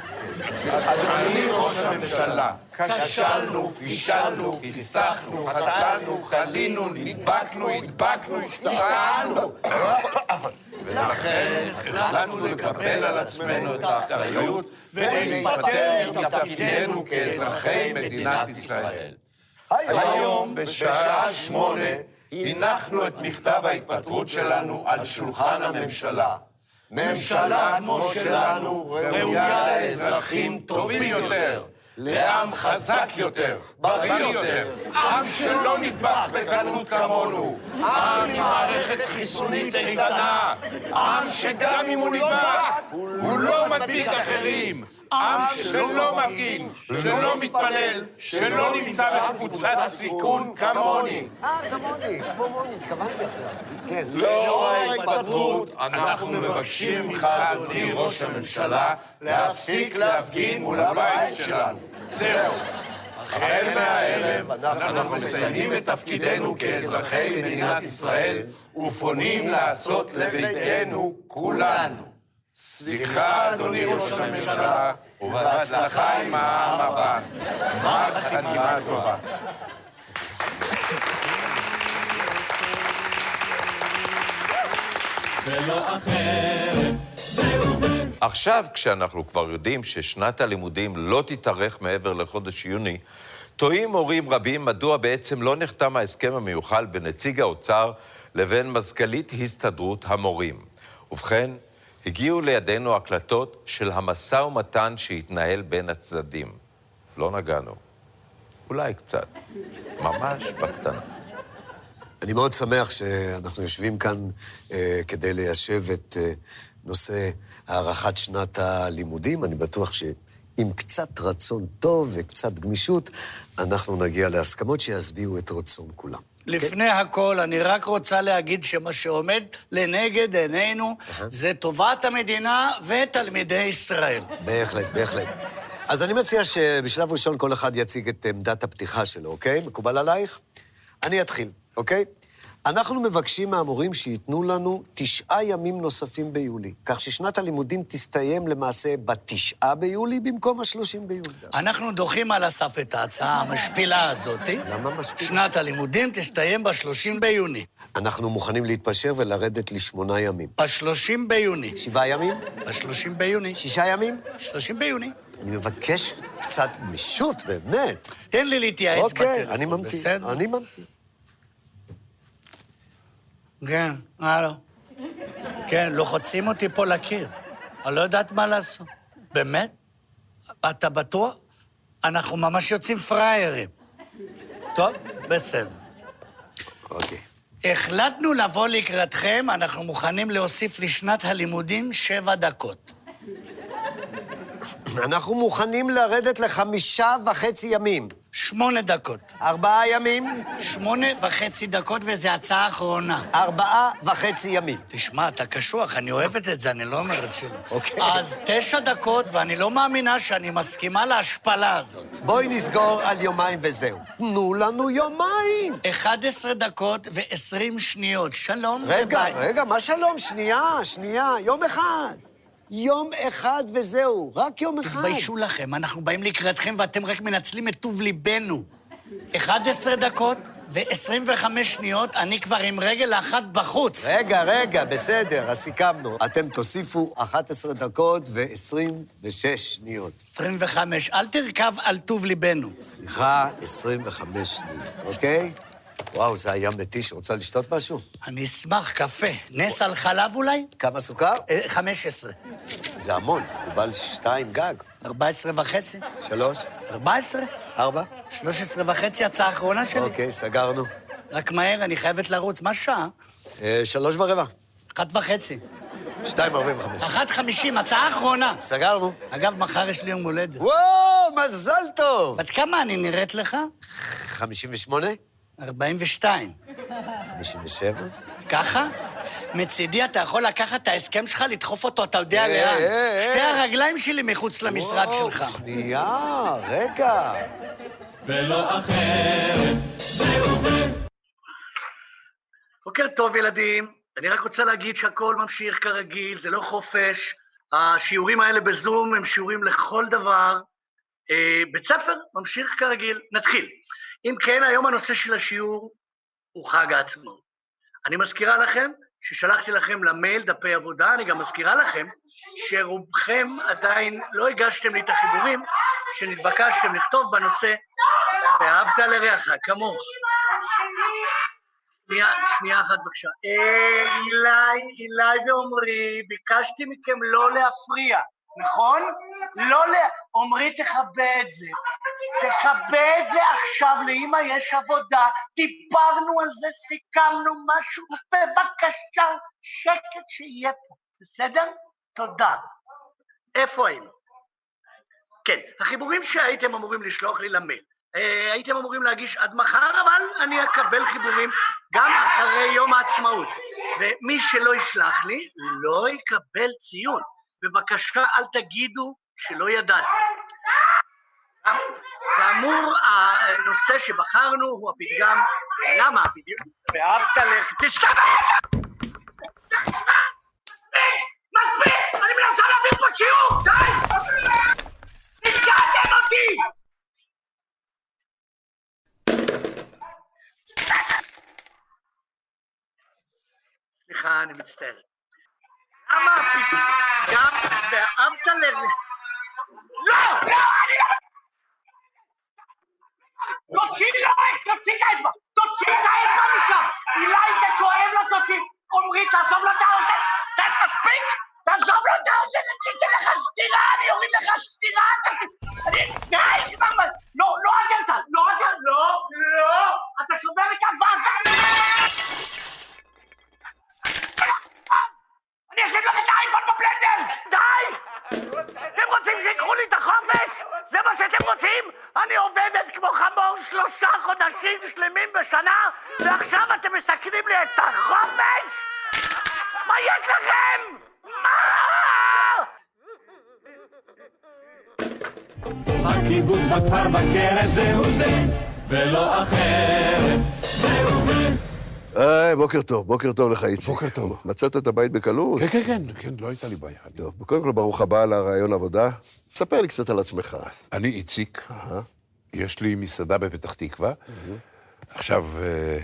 Speaker 6: אדוני ראש הממשלה, כשלנו, פישלנו, פיסחנו, חטאנו, חלינו, נדבקנו, הדבקנו, השתעלנו. ולכן החלטנו לקבל על עצמנו את האחריות ולהתפטר מתפקידנו כאזרחי מדינת ישראל. היום, בשעה שמונה, הנחנו את מכתב ההתפטרות שלנו על שולחן הממשלה. ממשלה כמו שלנו ראויה לאזרחים טובים יותר, לעם חזק יותר, בריא יותר, עם שלא נדבק בקלות כמונו, עם עם מערכת חיסונית איתנה, עם שגם אם הוא נדבק, הוא לא מדביק אחרים. עם שלא מפגין, שלא מתפלל, שלא נמצא בקבוצת סיכון כמוני.
Speaker 5: אה, כמוני, כמו מוני, התכוונתי עכשיו. כן.
Speaker 6: לאור ההתפטרות, לא אנחנו מבקשים ממך, אדוני ראש הממשלה, להפסיק להפגין מול הבית שלנו. זהו. החל מהערב אנחנו מסיימים את תפקידנו כאזרחי מדינת ישראל ופונים לעשות לביתנו כולנו. סליחה, אדוני ראש הממשלה, ובהצלחה עם העם הבא. גמר חתימה טובה.
Speaker 18: ולא אחרת, זהו זה.
Speaker 8: עכשיו, כשאנחנו כבר יודעים ששנת הלימודים לא תתארך מעבר לחודש יוני, תוהים הורים רבים מדוע בעצם לא נחתם ההסכם המיוחל בין נציג האוצר לבין מזכ"לית הסתדרות המורים. ובכן, הגיעו לידינו הקלטות של המשא ומתן שהתנהל בין הצדדים. לא נגענו. אולי קצת. ממש בקטנה.
Speaker 5: אני מאוד שמח שאנחנו יושבים כאן אה, כדי ליישב את אה, נושא הארכת שנת הלימודים. אני בטוח שעם קצת רצון טוב וקצת גמישות, אנחנו נגיע להסכמות שישביעו את רצון כולם.
Speaker 2: לפני הכל, אני רק רוצה להגיד שמה שעומד לנגד עינינו זה טובת המדינה ותלמידי ישראל.
Speaker 5: בהחלט, בהחלט. אז אני מציע שבשלב ראשון כל אחד יציג את עמדת הפתיחה שלו, אוקיי? מקובל עלייך? אני אתחיל, אוקיי? אנחנו מבקשים מהמורים שייתנו לנו תשעה ימים נוספים ביולי, כך ששנת הלימודים תסתיים למעשה בתשעה ביולי במקום השלושים ביולי.
Speaker 2: אנחנו דוחים על הסף את ההצעה המשפילה הזאת.
Speaker 5: למה משפילה?
Speaker 2: שנת הלימודים תסתיים ב-30 ביוני.
Speaker 5: אנחנו מוכנים להתפשר ולרדת לשמונה ימים.
Speaker 2: ב-30 ביוני.
Speaker 5: שבעה ימים?
Speaker 2: ב-30 ביוני.
Speaker 5: שישה ימים?
Speaker 2: 30 ביוני.
Speaker 5: אני מבקש קצת גמישות, באמת.
Speaker 2: תן לי להתייעץ
Speaker 5: אוקיי,
Speaker 2: בטלפון,
Speaker 5: אני ממתין,
Speaker 2: בסדר?
Speaker 5: אני ממתין.
Speaker 2: כן, הלו. כן, לוחצים אותי פה לקיר. אני לא יודעת מה לעשות. באמת? אתה בטוח? אנחנו ממש יוצאים פראיירים. טוב, בסדר.
Speaker 5: אוקיי.
Speaker 2: החלטנו לבוא לקראתכם, אנחנו מוכנים להוסיף לשנת הלימודים שבע דקות.
Speaker 5: אנחנו מוכנים לרדת לחמישה וחצי ימים.
Speaker 2: שמונה דקות.
Speaker 5: ארבעה ימים?
Speaker 2: שמונה וחצי דקות, וזו הצעה אחרונה.
Speaker 5: ארבעה וחצי ימים.
Speaker 2: תשמע, אתה קשוח, אני אוהבת את זה, אני לא אומרת שלא.
Speaker 5: אוקיי.
Speaker 2: אז תשע דקות, ואני לא מאמינה שאני מסכימה להשפלה הזאת.
Speaker 5: בואי נסגור על יומיים וזהו. תנו לנו יומיים!
Speaker 2: 11 דקות ו-20 שניות. שלום
Speaker 5: רגע,
Speaker 2: וביי.
Speaker 5: רגע, מה שלום? שנייה, שנייה, יום אחד. יום אחד וזהו, רק יום אחד.
Speaker 2: תתביישו לכם, אנחנו באים לקראתכם ואתם רק מנצלים את טוב ליבנו. 11 דקות ו-25 שניות, אני כבר עם רגל אחת בחוץ.
Speaker 5: רגע, רגע, בסדר, אז סיכמנו. אתם תוסיפו 11 דקות ו-26 שניות.
Speaker 2: 25, אל תרכב על טוב ליבנו.
Speaker 5: סליחה, 25 שניות, אוקיי? וואו, זה היה מתיש. רוצה לשתות משהו?
Speaker 2: אני אשמח, קפה. נס על חלב אולי?
Speaker 5: כמה סוכר?
Speaker 2: אה, 15.
Speaker 5: זה המון, מקובל שתיים גג.
Speaker 2: 14 וחצי?
Speaker 5: שלוש?
Speaker 2: 14?
Speaker 5: ארבע?
Speaker 2: 13 וחצי, הצעה האחרונה שלי.
Speaker 5: אוקיי, סגרנו.
Speaker 2: רק מהר, אני חייבת לרוץ. מה שעה?
Speaker 5: אה, שלוש ורבע?
Speaker 2: אחת וחצי.
Speaker 5: שתיים ארבעים וחמש.
Speaker 2: אחת חמישים, הצעה אחרונה.
Speaker 5: סגרנו.
Speaker 2: אגב, מחר יש לי יום הולדת.
Speaker 5: וואו, מזל טוב!
Speaker 2: בת כמה אני נראית לך?
Speaker 5: 58?
Speaker 2: 42.
Speaker 5: 57?
Speaker 2: ככה?
Speaker 10: מצידי אתה יכול לקחת את ההסכם שלך, לדחוף אותו, אתה יודע
Speaker 19: אה,
Speaker 10: לאן.
Speaker 19: אה, אה.
Speaker 10: שתי הרגליים שלי מחוץ למשרד שלך.
Speaker 19: שנייה, רגע.
Speaker 10: ולא אחרת, זהו זה. בוקר טוב, ילדים. אני רק רוצה להגיד שהכל ממשיך כרגיל, זה לא חופש. השיעורים האלה בזום הם שיעורים לכל דבר. אה, בית ספר ממשיך כרגיל. נתחיל. אם כן, היום הנושא של השיעור הוא חג העצמאות. אני מזכירה לכם ששלחתי לכם למייל דפי עבודה, אני גם מזכירה לכם שרובכם עדיין לא הגשתם לי את החיבורים שנתבקשתם לכתוב בנושא ואהבת לרעך כמוך. שנייה, שנייה אחת בבקשה. אה, אילי, אילי ועומרי, ביקשתי מכם לא להפריע, נכון? לא ל... עומרי, תכבה את זה. תכבה את זה עכשיו, לאמא יש עבודה, דיברנו על זה, סיכמנו משהו, בבקשה, שקט שיהיה פה, בסדר? תודה. איפה היינו? כן, החיבורים שהייתם אמורים לשלוח לי למייל, אה, הייתם אמורים להגיש עד מחר, אבל אני אקבל חיבורים גם אחרי יום העצמאות. ומי שלא ישלח לי, לא יקבל ציון. בבקשה, אל תגידו שלא ידעתי. כאמור, הנושא שבחרנו הוא הפתגם, למה הפתגם? ואהבת לך... תשמע! מספיק! אני מנסה להביא פה שיעור! די! נפגעתם אותי! סליחה, אני מצטער. למה הפתגם ואהבת ל... לא! לא, אני לא... תוציא לו, תוציא את האצבע! תוציא את האצבע משם! אילי זה כואב לו, תוציא! עמרי, תעזוב לו את האוזן! די, מספיק! תעזוב לו את האוזן, אני אתן לך סטירה, אני אוריד לך סטירה! אתה- אני... די, כבר... מה- לא, לא הגנת! לא הגנת! לא! לא! אתה שובר את הוואזה! אני אשים לך את האייפון בפלנדר! די! אתם רוצים שיקחו לי את החופש? זה מה שאתם רוצים? אני עובדת כמו חמור שלושה חודשים שלמים בשנה, ועכשיו אתם מסכנים לי את החופש? מה יש לכם? מה?
Speaker 18: בקיבוץ, בכפר, בכרם, זהו זה, ולא אחרת, זהו זה.
Speaker 4: היי, בוקר טוב, בוקר טוב לך, איציק. בוקר טוב. מצאת את הבית בקלות?
Speaker 7: כן, כן, כן, כן, לא הייתה לי בעיה.
Speaker 4: טוב, קודם כל, ברוך הבא לרעיון עבודה. ספר לי קצת על עצמך.
Speaker 6: אני איציק, יש לי מסעדה בפתח תקווה. עכשיו, אה,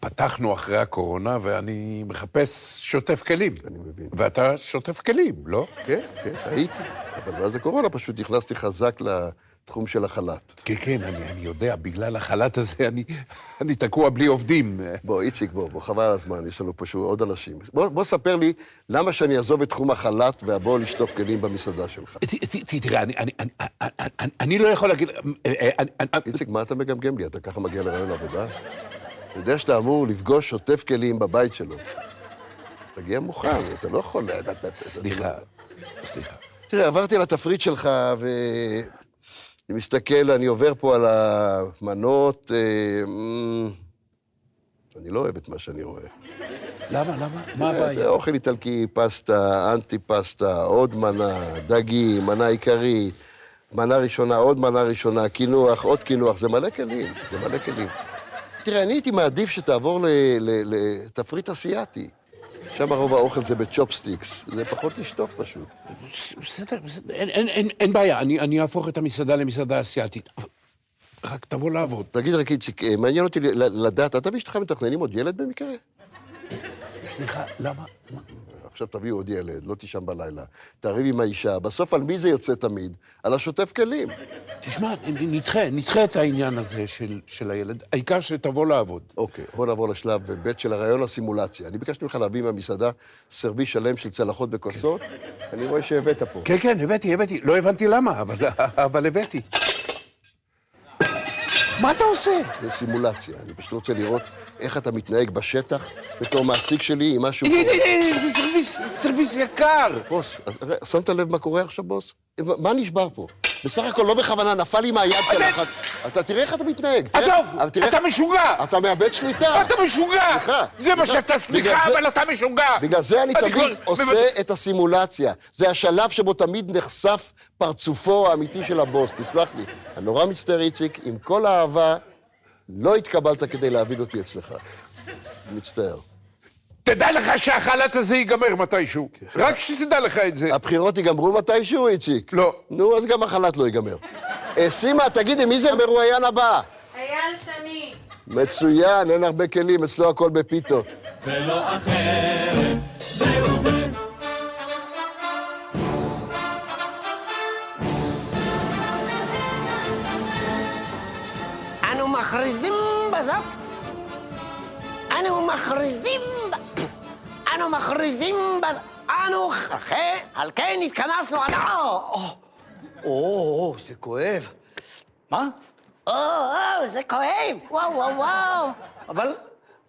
Speaker 6: פתחנו אחרי הקורונה, ואני מחפש שוטף כלים. אני מבין. ואתה שוטף כלים, לא?
Speaker 4: כן, כן, הייתי. אבל אז הקורונה פשוט נכנסתי חזק לתחום של החל"ת.
Speaker 6: כן, כן, אני, אני יודע, בגלל החל"ת הזה אני, אני תקוע בלי עובדים.
Speaker 7: אה,
Speaker 4: בוא, איציק, בוא, בוא, חבל על הזמן, יש לנו פה שוב עוד אנשים. בוא, בוא ספר לי למה שאני אעזוב את תחום החל"ת ואבוא לשטוף כלים במסעדה שלך.
Speaker 7: ת- ת- תראה, אני- אני- אני- אני- אני- אני לא יכול להגיד... אה, אה, אני- אני-
Speaker 4: איציק, מה אתה מגמגם לי? אתה ככה מגיע לרעיון עבודה? אתה יודע שאתה אמור לפגוש שוטף כלים בבית שלו. אז תגיע מוכן, אתה לא יכול...
Speaker 6: סליחה, סליחה.
Speaker 4: תראה, עברתי על התפריט שלך, ואני מסתכל, אני עובר פה על המנות, אה, מ, אני לא אוהב את מה שאני רואה.
Speaker 7: למה, למה? מה
Speaker 4: תראה,
Speaker 7: הבעיה?
Speaker 4: זה אוכל איטלקי, פסטה, אנטי פסטה, עוד מנה, דגים, מנה עיקרית, מנה ראשונה, עוד מנה ראשונה, קינוח, עוד קינוח, זה מלא כלים, זה מלא כלים. תראה, אני הייתי מעדיף שתעבור ל- ל- לתפריט אסיאתי. שם רוב האוכל זה בצ'ופסטיקס, זה פחות לשטוף פשוט.
Speaker 7: בסדר, בסדר, אין- אין- אין- אין בעיה, אני אני אהפוך את המסעדה למסעדה אסיאתית. אבל רק תבוא לעבוד.
Speaker 4: תגיד רק, איציק, אה, מעניין אותי ל- לדעת, אתה ואשתך מתכננים עוד ילד במקרה?
Speaker 7: סליחה, למה?
Speaker 4: עכשיו תביאו עוד ילד, לא תישן בלילה, תריב עם האישה, בסוף על מי זה יוצא תמיד? על השוטף כלים.
Speaker 7: תשמע, נדחה, נדחה את העניין הזה של- של הילד, העיקר שתבוא לעבוד.
Speaker 4: אוקיי, בוא נעבור לשלב ב' של הרעיון הסימולציה. אני ביקשתי ממך להביא מהמסעדה סרבי שלם של צלחות וכוסות, אני רואה שהבאת פה.
Speaker 7: כן, כן, הבאתי, הבאתי. לא הבנתי למה, אבל- אבל הבאתי. מה אתה עושה?
Speaker 4: זה סימולציה, אני פשוט רוצה לראות איך אתה מתנהג בשטח בתור מעסיק שלי עם משהו...
Speaker 7: אה, אה, אה, זה סרוויס, סרוויס יקר.
Speaker 4: בוס, אז- שמת לב מה קורה עכשיו, בוס? מה מה נשבר פה?
Speaker 19: בסך הכל לא בכוונה, נפל לי מהיד שלך. אתה תראה איך אתה מתנהג. תראה-
Speaker 4: עזוב,
Speaker 19: אבל תראה
Speaker 4: אתה
Speaker 19: איך-
Speaker 4: משוגע.
Speaker 19: אתה מאבד שליטה.
Speaker 4: אתה משוגע.
Speaker 19: סליחה.
Speaker 4: זה מה שאתה,
Speaker 19: בגלל
Speaker 4: סליחה,
Speaker 19: זה-
Speaker 4: אבל אתה משוגע.
Speaker 19: בגלל זה אני
Speaker 4: כבר-
Speaker 19: תמיד עושה את הסימולציה. זה השלב שבו תמיד נחשף פרצופו האמיתי של הבוס, תסלח לי. אני נורא מצטער, איציק, עם כל האהבה, לא התקבלת כדי להעביד אותי אצלך. מצטער.
Speaker 4: תדע לך שהחל"ת הזה ייגמר מתישהו. רק שתדע לך את זה.
Speaker 19: כן. הבחירות ייגמרו מתישהו, איציק? לא. נו, אז גם החל"ת לא ייגמר. אה, סימה, תגידי, מי זה המרואיין הבא?
Speaker 20: אייל שני.
Speaker 19: מצוין, אין הרבה כלים, אצלו הכל בפיתות.
Speaker 18: ולא אחרת, זהו זה.
Speaker 5: אנו מכריזים בזאת. אנו מכריזים... ב- אנו מכריזים בזאת. אנו... אחרי... על כן התכנסנו... אנו...
Speaker 21: או, זה כואב.
Speaker 2: מה?
Speaker 5: או, או, זה כואב! וואו, וואו, וואו!
Speaker 2: אבל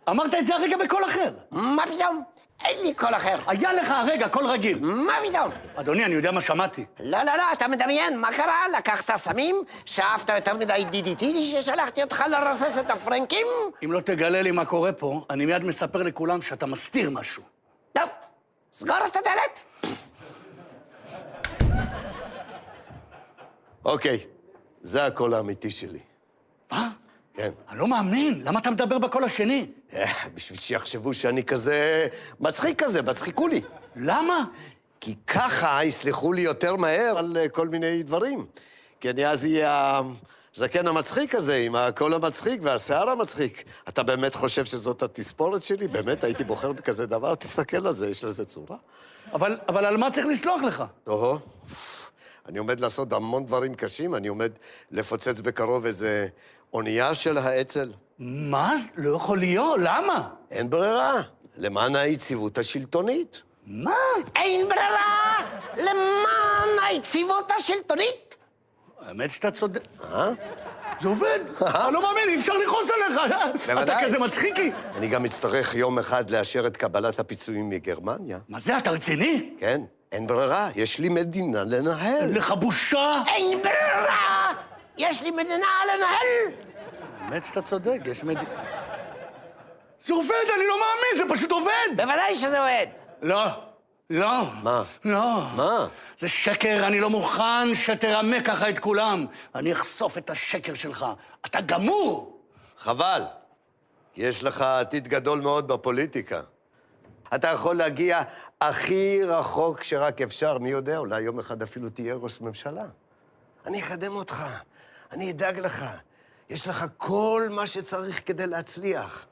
Speaker 2: אמרת את זה הרגע בקול אחר.
Speaker 5: מה פתאום? אין לי קול אחר.
Speaker 2: היה לך הרגע קול רגיל.
Speaker 5: מה פתאום?
Speaker 7: Hmm?
Speaker 2: אדוני, אני יודע מה שמעתי.
Speaker 5: לא, לא, לא, אתה מדמיין, מה קרה? לקחת סמים? שאפת יותר מדי DDT ששלחתי אותך לרסס את הפרנקים?
Speaker 2: אם לא תגלה לי מה קורה פה, אני מיד מספר לכולם שאתה מסתיר משהו.
Speaker 5: טוב, סגור את הדלת.
Speaker 19: אוקיי, זה הקול האמיתי שלי.
Speaker 2: מה?
Speaker 19: כן.
Speaker 2: אני לא מאמין, למה אתה מדבר בקול השני?
Speaker 19: אה, בשביל שיחשבו שאני כזה... מצחיק כזה, מצחיקו לי.
Speaker 2: למה?
Speaker 19: כי ככה יסלחו לי יותר מהר על אה, כל מיני דברים. כי אני אז אהיה הזקן המצחיק הזה, עם הקול המצחיק והשיער המצחיק. אתה באמת חושב שזאת התספורת שלי? באמת, הייתי בוחר בכזה דבר? תסתכל על זה, יש לזה צורה.
Speaker 2: אבל, אבל על מה צריך לסלוח לך?
Speaker 19: או-הו. אני עומד לעשות המון דברים קשים, אני עומד לפוצץ בקרוב איזה אונייה של האצ"ל.
Speaker 2: מה? זה? לא יכול להיות, למה?
Speaker 19: אין ברירה, למען היציבות השלטונית.
Speaker 2: מה?
Speaker 5: אין ברירה! למען היציבות השלטונית!
Speaker 2: האמת שאתה צודק.
Speaker 19: אה?
Speaker 2: זה עובד.
Speaker 5: אה?
Speaker 2: אני לא מאמין, אי אפשר לכעוס עליך. אתה
Speaker 19: בוודאי.
Speaker 2: כזה מצחיקי.
Speaker 19: אני גם אצטרך יום אחד לאשר את קבלת הפיצויים מגרמניה.
Speaker 2: מה זה, אתה רציני?
Speaker 19: כן, אין ברירה, יש לי מדינה לנהל. אין
Speaker 2: לך בושה?
Speaker 5: אין ברירה! יש לי מדינה לנהל!
Speaker 2: האמת שאתה צודק, יש מדינה... זה עובד, אני לא מאמין, זה פשוט עובד!
Speaker 5: בוודאי שזה עובד.
Speaker 2: לא, לא.
Speaker 19: מה?
Speaker 2: לא.
Speaker 19: מה?
Speaker 2: זה שקר, אני לא מוכן שתרמה ככה את כולם. אני אחשוף את השקר כן, שלך. אתה גמור!
Speaker 19: חבל, כי יש לך עתיד גדול מאוד בפוליטיקה. אתה יכול להגיע הכי רחוק שרק אפשר, מי יודע, אולי יום אחד אפילו תהיה ראש ממשלה. אני אקדם אותך, אני אדאג לך. יש לך כל מה שצריך כדי להצליח.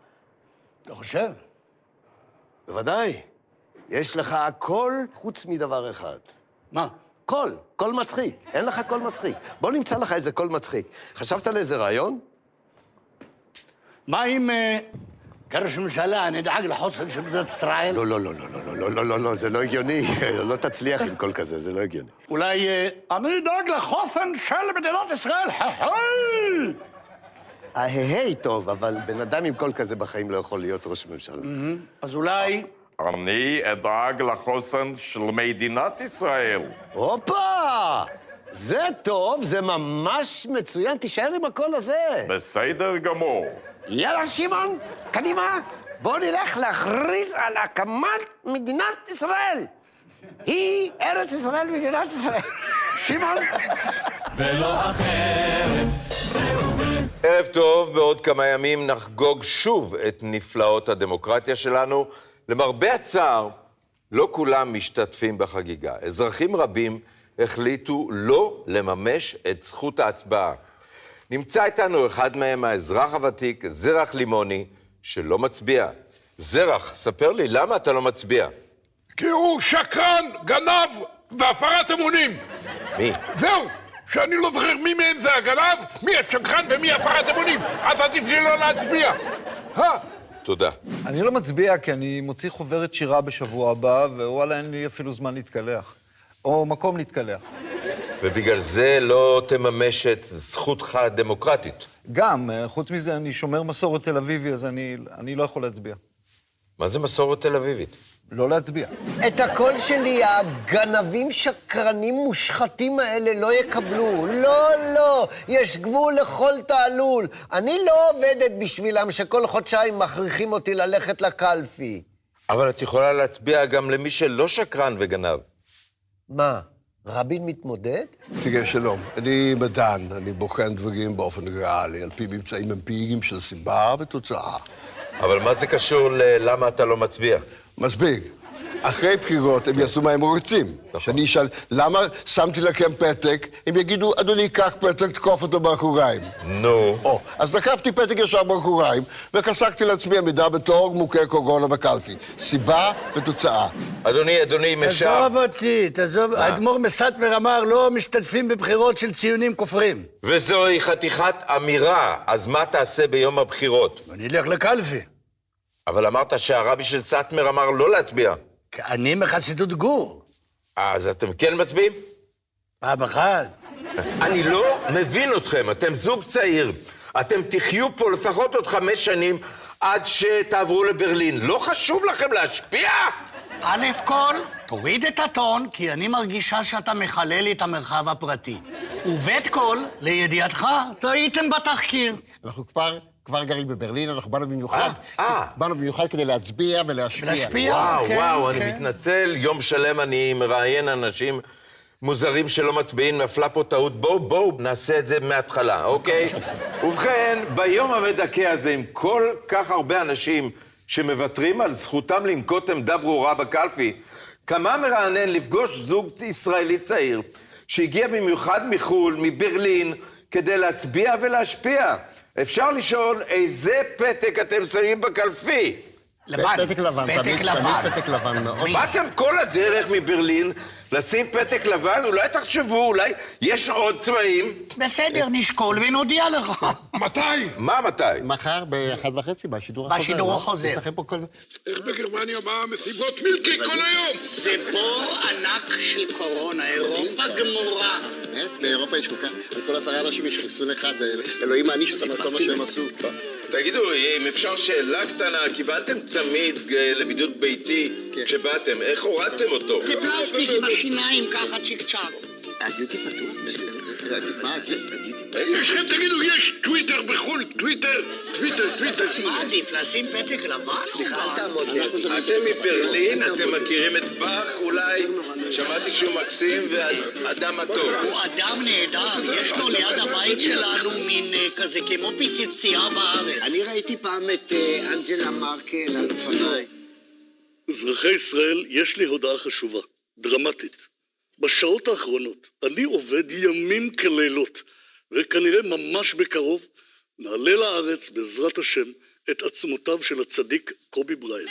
Speaker 2: אתה חושב?
Speaker 19: בוודאי. יש לך הכל חוץ מדבר אחד.
Speaker 2: מה?
Speaker 19: קול, קול מצחיק. אין לך קול מצחיק. בוא נמצא לך איזה קול מצחיק. חשבת על איזה רעיון?
Speaker 2: מה אם אה, כראש ממשלה נדאג לחוסן של מדינת ישראל?
Speaker 19: לא, לא, לא, לא, לא, לא, לא, לא, לא, זה לא הגיוני. לא תצליח עם קול כזה, זה לא הגיוני.
Speaker 2: אולי אה, אני אדאג לחוסן של מדינת ישראל? היי!
Speaker 19: ההיי טוב, אבל בן אדם עם קול כזה בחיים לא יכול להיות ראש ממשלה.
Speaker 2: אז אולי...
Speaker 22: אני אדאג לחוסן של מדינת ישראל.
Speaker 19: הופה! זה טוב, זה ממש מצוין, תישאר עם הקול הזה.
Speaker 22: בסדר גמור.
Speaker 5: יאללה, שמעון, קדימה, בואו נלך להכריז על הקמת מדינת ישראל. היא ארץ ישראל, מדינת ישראל. שמעון.
Speaker 18: ולא אחרת,
Speaker 8: ערב טוב, בעוד כמה ימים נחגוג שוב את נפלאות הדמוקרטיה שלנו. למרבה הצער, לא כולם משתתפים בחגיגה. אזרחים רבים החליטו לא לממש את זכות ההצבעה. נמצא איתנו אחד מהם, האזרח הוותיק, זרח לימוני, שלא מצביע. זרח, ספר לי, למה אתה לא מצביע?
Speaker 6: כי הוא שקרן, גנב והפרת אמונים.
Speaker 8: מי?
Speaker 6: זהו, שאני לא זוכר מי מהם זה הגנב, מי השקרן ומי הפרת אמונים. אז עדיף לי לא להצביע. אה,
Speaker 8: תודה.
Speaker 23: אני לא מצביע כי אני מוציא חוברת שירה בשבוע הבא, ווואלה, אין לי אפילו זמן
Speaker 19: לא.
Speaker 23: להתקלח. או מקום להתקלח.
Speaker 8: ובגלל זה לא תממש את זכותך הדמוקרטית.
Speaker 23: גם, אה, חוץ מזה, אני שומר מסורת תל אביבי, אז אני, אני לא יכול להצביע.
Speaker 8: מה זה מסורת תל אביבית?
Speaker 23: לא להצביע.
Speaker 5: את הקול שלי הגנבים, שקרנים, מושחתים האלה לא יקבלו. לא, לא, יש גבול לכל תעלול. אני לא עובדת בשבילם שכל חודשיים מכריחים אותי ללכת לקלפי.
Speaker 8: אבל את יכולה להצביע גם למי שלא שקרן וגנב.
Speaker 5: מה, רבין מתמודד?
Speaker 4: נציגי שלום, אני מדען, אני בוחן דברים באופן ריאלי, על פי ממצאים אמפיריים של סיבה ותוצאה.
Speaker 8: אבל מה זה קשור ללמה אתה לא מצביע?
Speaker 4: מספיק. אחרי בחירות הם יעשו מה הם רוצים.
Speaker 24: נכון.
Speaker 4: שאני אשאל, למה שמתי לכם פתק? הם יגידו, אדוני, קח פתק, תקוף אותו באחוריים.
Speaker 24: נכון.
Speaker 8: נו.
Speaker 4: או, אז לקחתי פתק ישר באחוריים, וכסקתי לעצמי עמידה בתור מוכה קורונה בקלפי. סיבה ותוצאה.
Speaker 8: אדוני, אדוני, אם אפשר...
Speaker 2: תעזוב אותי, תעזוב.
Speaker 8: מה?
Speaker 2: האדמו"ר מסטמר אמר, לא משתתפים בבחירות של ציונים כופרים.
Speaker 8: וזוהי חתיכת אמירה, אז מה תעשה ביום הבחירות?
Speaker 2: אני אלך לקלפי.
Speaker 8: אבל אמרת שהרבי של סאטמר אמר לא להצביע.
Speaker 2: אני מחסידות גור.
Speaker 8: אז אתם כן מצביעים?
Speaker 2: פעם אחת.
Speaker 8: אני לא מבין אתכם, אתם זוג צעיר. אתם תחיו פה לפחות עוד חמש שנים עד שתעברו לברלין. לא חשוב לכם להשפיע?
Speaker 2: א' כל, תוריד את הטון, כי אני מרגישה שאתה מחלל לי את המרחב הפרטי. וב' כל, לידיעתך, טעיתם בתחקיר.
Speaker 24: אנחנו כבר, כבר גרים בברלין, אנחנו באנו במיוחד.
Speaker 4: אה,
Speaker 24: באנו במיוחד כדי להצביע ולהשפיע.
Speaker 8: וואו,
Speaker 2: כן,
Speaker 8: וואו, אני מתנצל. יום שלם אני מראיין אנשים מוזרים שלא מצביעים, נפלה פה טעות. בואו, בואו, נעשה את זה מההתחלה, אוקיי? ובכן, ביום המדכא הזה, עם כל כך הרבה אנשים שמוותרים על זכותם לנקוט עמדה ברורה בקלפי, כמה מרענן לפגוש זוג ישראלי צעיר שהגיע במיוחד מחו"ל, מברלין, כדי להצביע ולהשפיע. אפשר לשאול איזה פתק אתם שמים בקלפי?
Speaker 24: לבן. פתק לבן, פתק תמיד- לבן. תמיד פתק לבן מאוד.
Speaker 8: באתם כל הדרך מברלין לשים פתק לבן? אולי תחשבו, אולי יש עוד צבעים?
Speaker 2: בסדר, נשקול ונודיע לך.
Speaker 8: מתי? מה מתי?
Speaker 24: מחר באחת וחצי, בשידור החוזר.
Speaker 6: בשידור
Speaker 24: לא?
Speaker 6: החוזר.
Speaker 24: יש לכם פה כל...
Speaker 6: איך בגרמניה מה מסיבות מילקי כל היום?
Speaker 2: זה בור ענק של קורונה, אירופה גמורה.
Speaker 24: באמת? באירופה יש כל כך... על כל עשרה אנשים יש חיסון אחד, אלוהים מעניש אותם על כל מה שהם עשו.
Speaker 8: תגידו, אם אפשר שאלה קטנה, קיבלתם צמיד אה, לבידוד ביתי כשבאתם, איך הורדתם אותו?
Speaker 25: זה פלסטיק עם השיניים ככה צ'יק צ'אק.
Speaker 24: הדיוטי פתוח. מה
Speaker 6: אצלכם תגידו, יש טוויטר בחו"ל, טוויטר, טוויטר, טוויטר.
Speaker 2: עדיף לשים פתק לבן? סליחה, אל תעמוד.
Speaker 8: אתם מברלין, אתם מכירים את באך אולי? שמעתי שהוא מקסים ואדם מתוק.
Speaker 2: הוא אדם נהדר, יש לו ליד הבית שלנו מין אה, כזה כמו פיצוצייה בארץ.
Speaker 5: אני ראיתי פעם את אה, אנג'לה מרקל על אופניים.
Speaker 26: אזרחי ישראל, יש לי הודעה חשובה, דרמטית. בשעות האחרונות אני עובד ימים כלילות, וכנראה ממש בקרוב נעלה לארץ, בעזרת השם, את עצמותיו של הצדיק קובי בריין.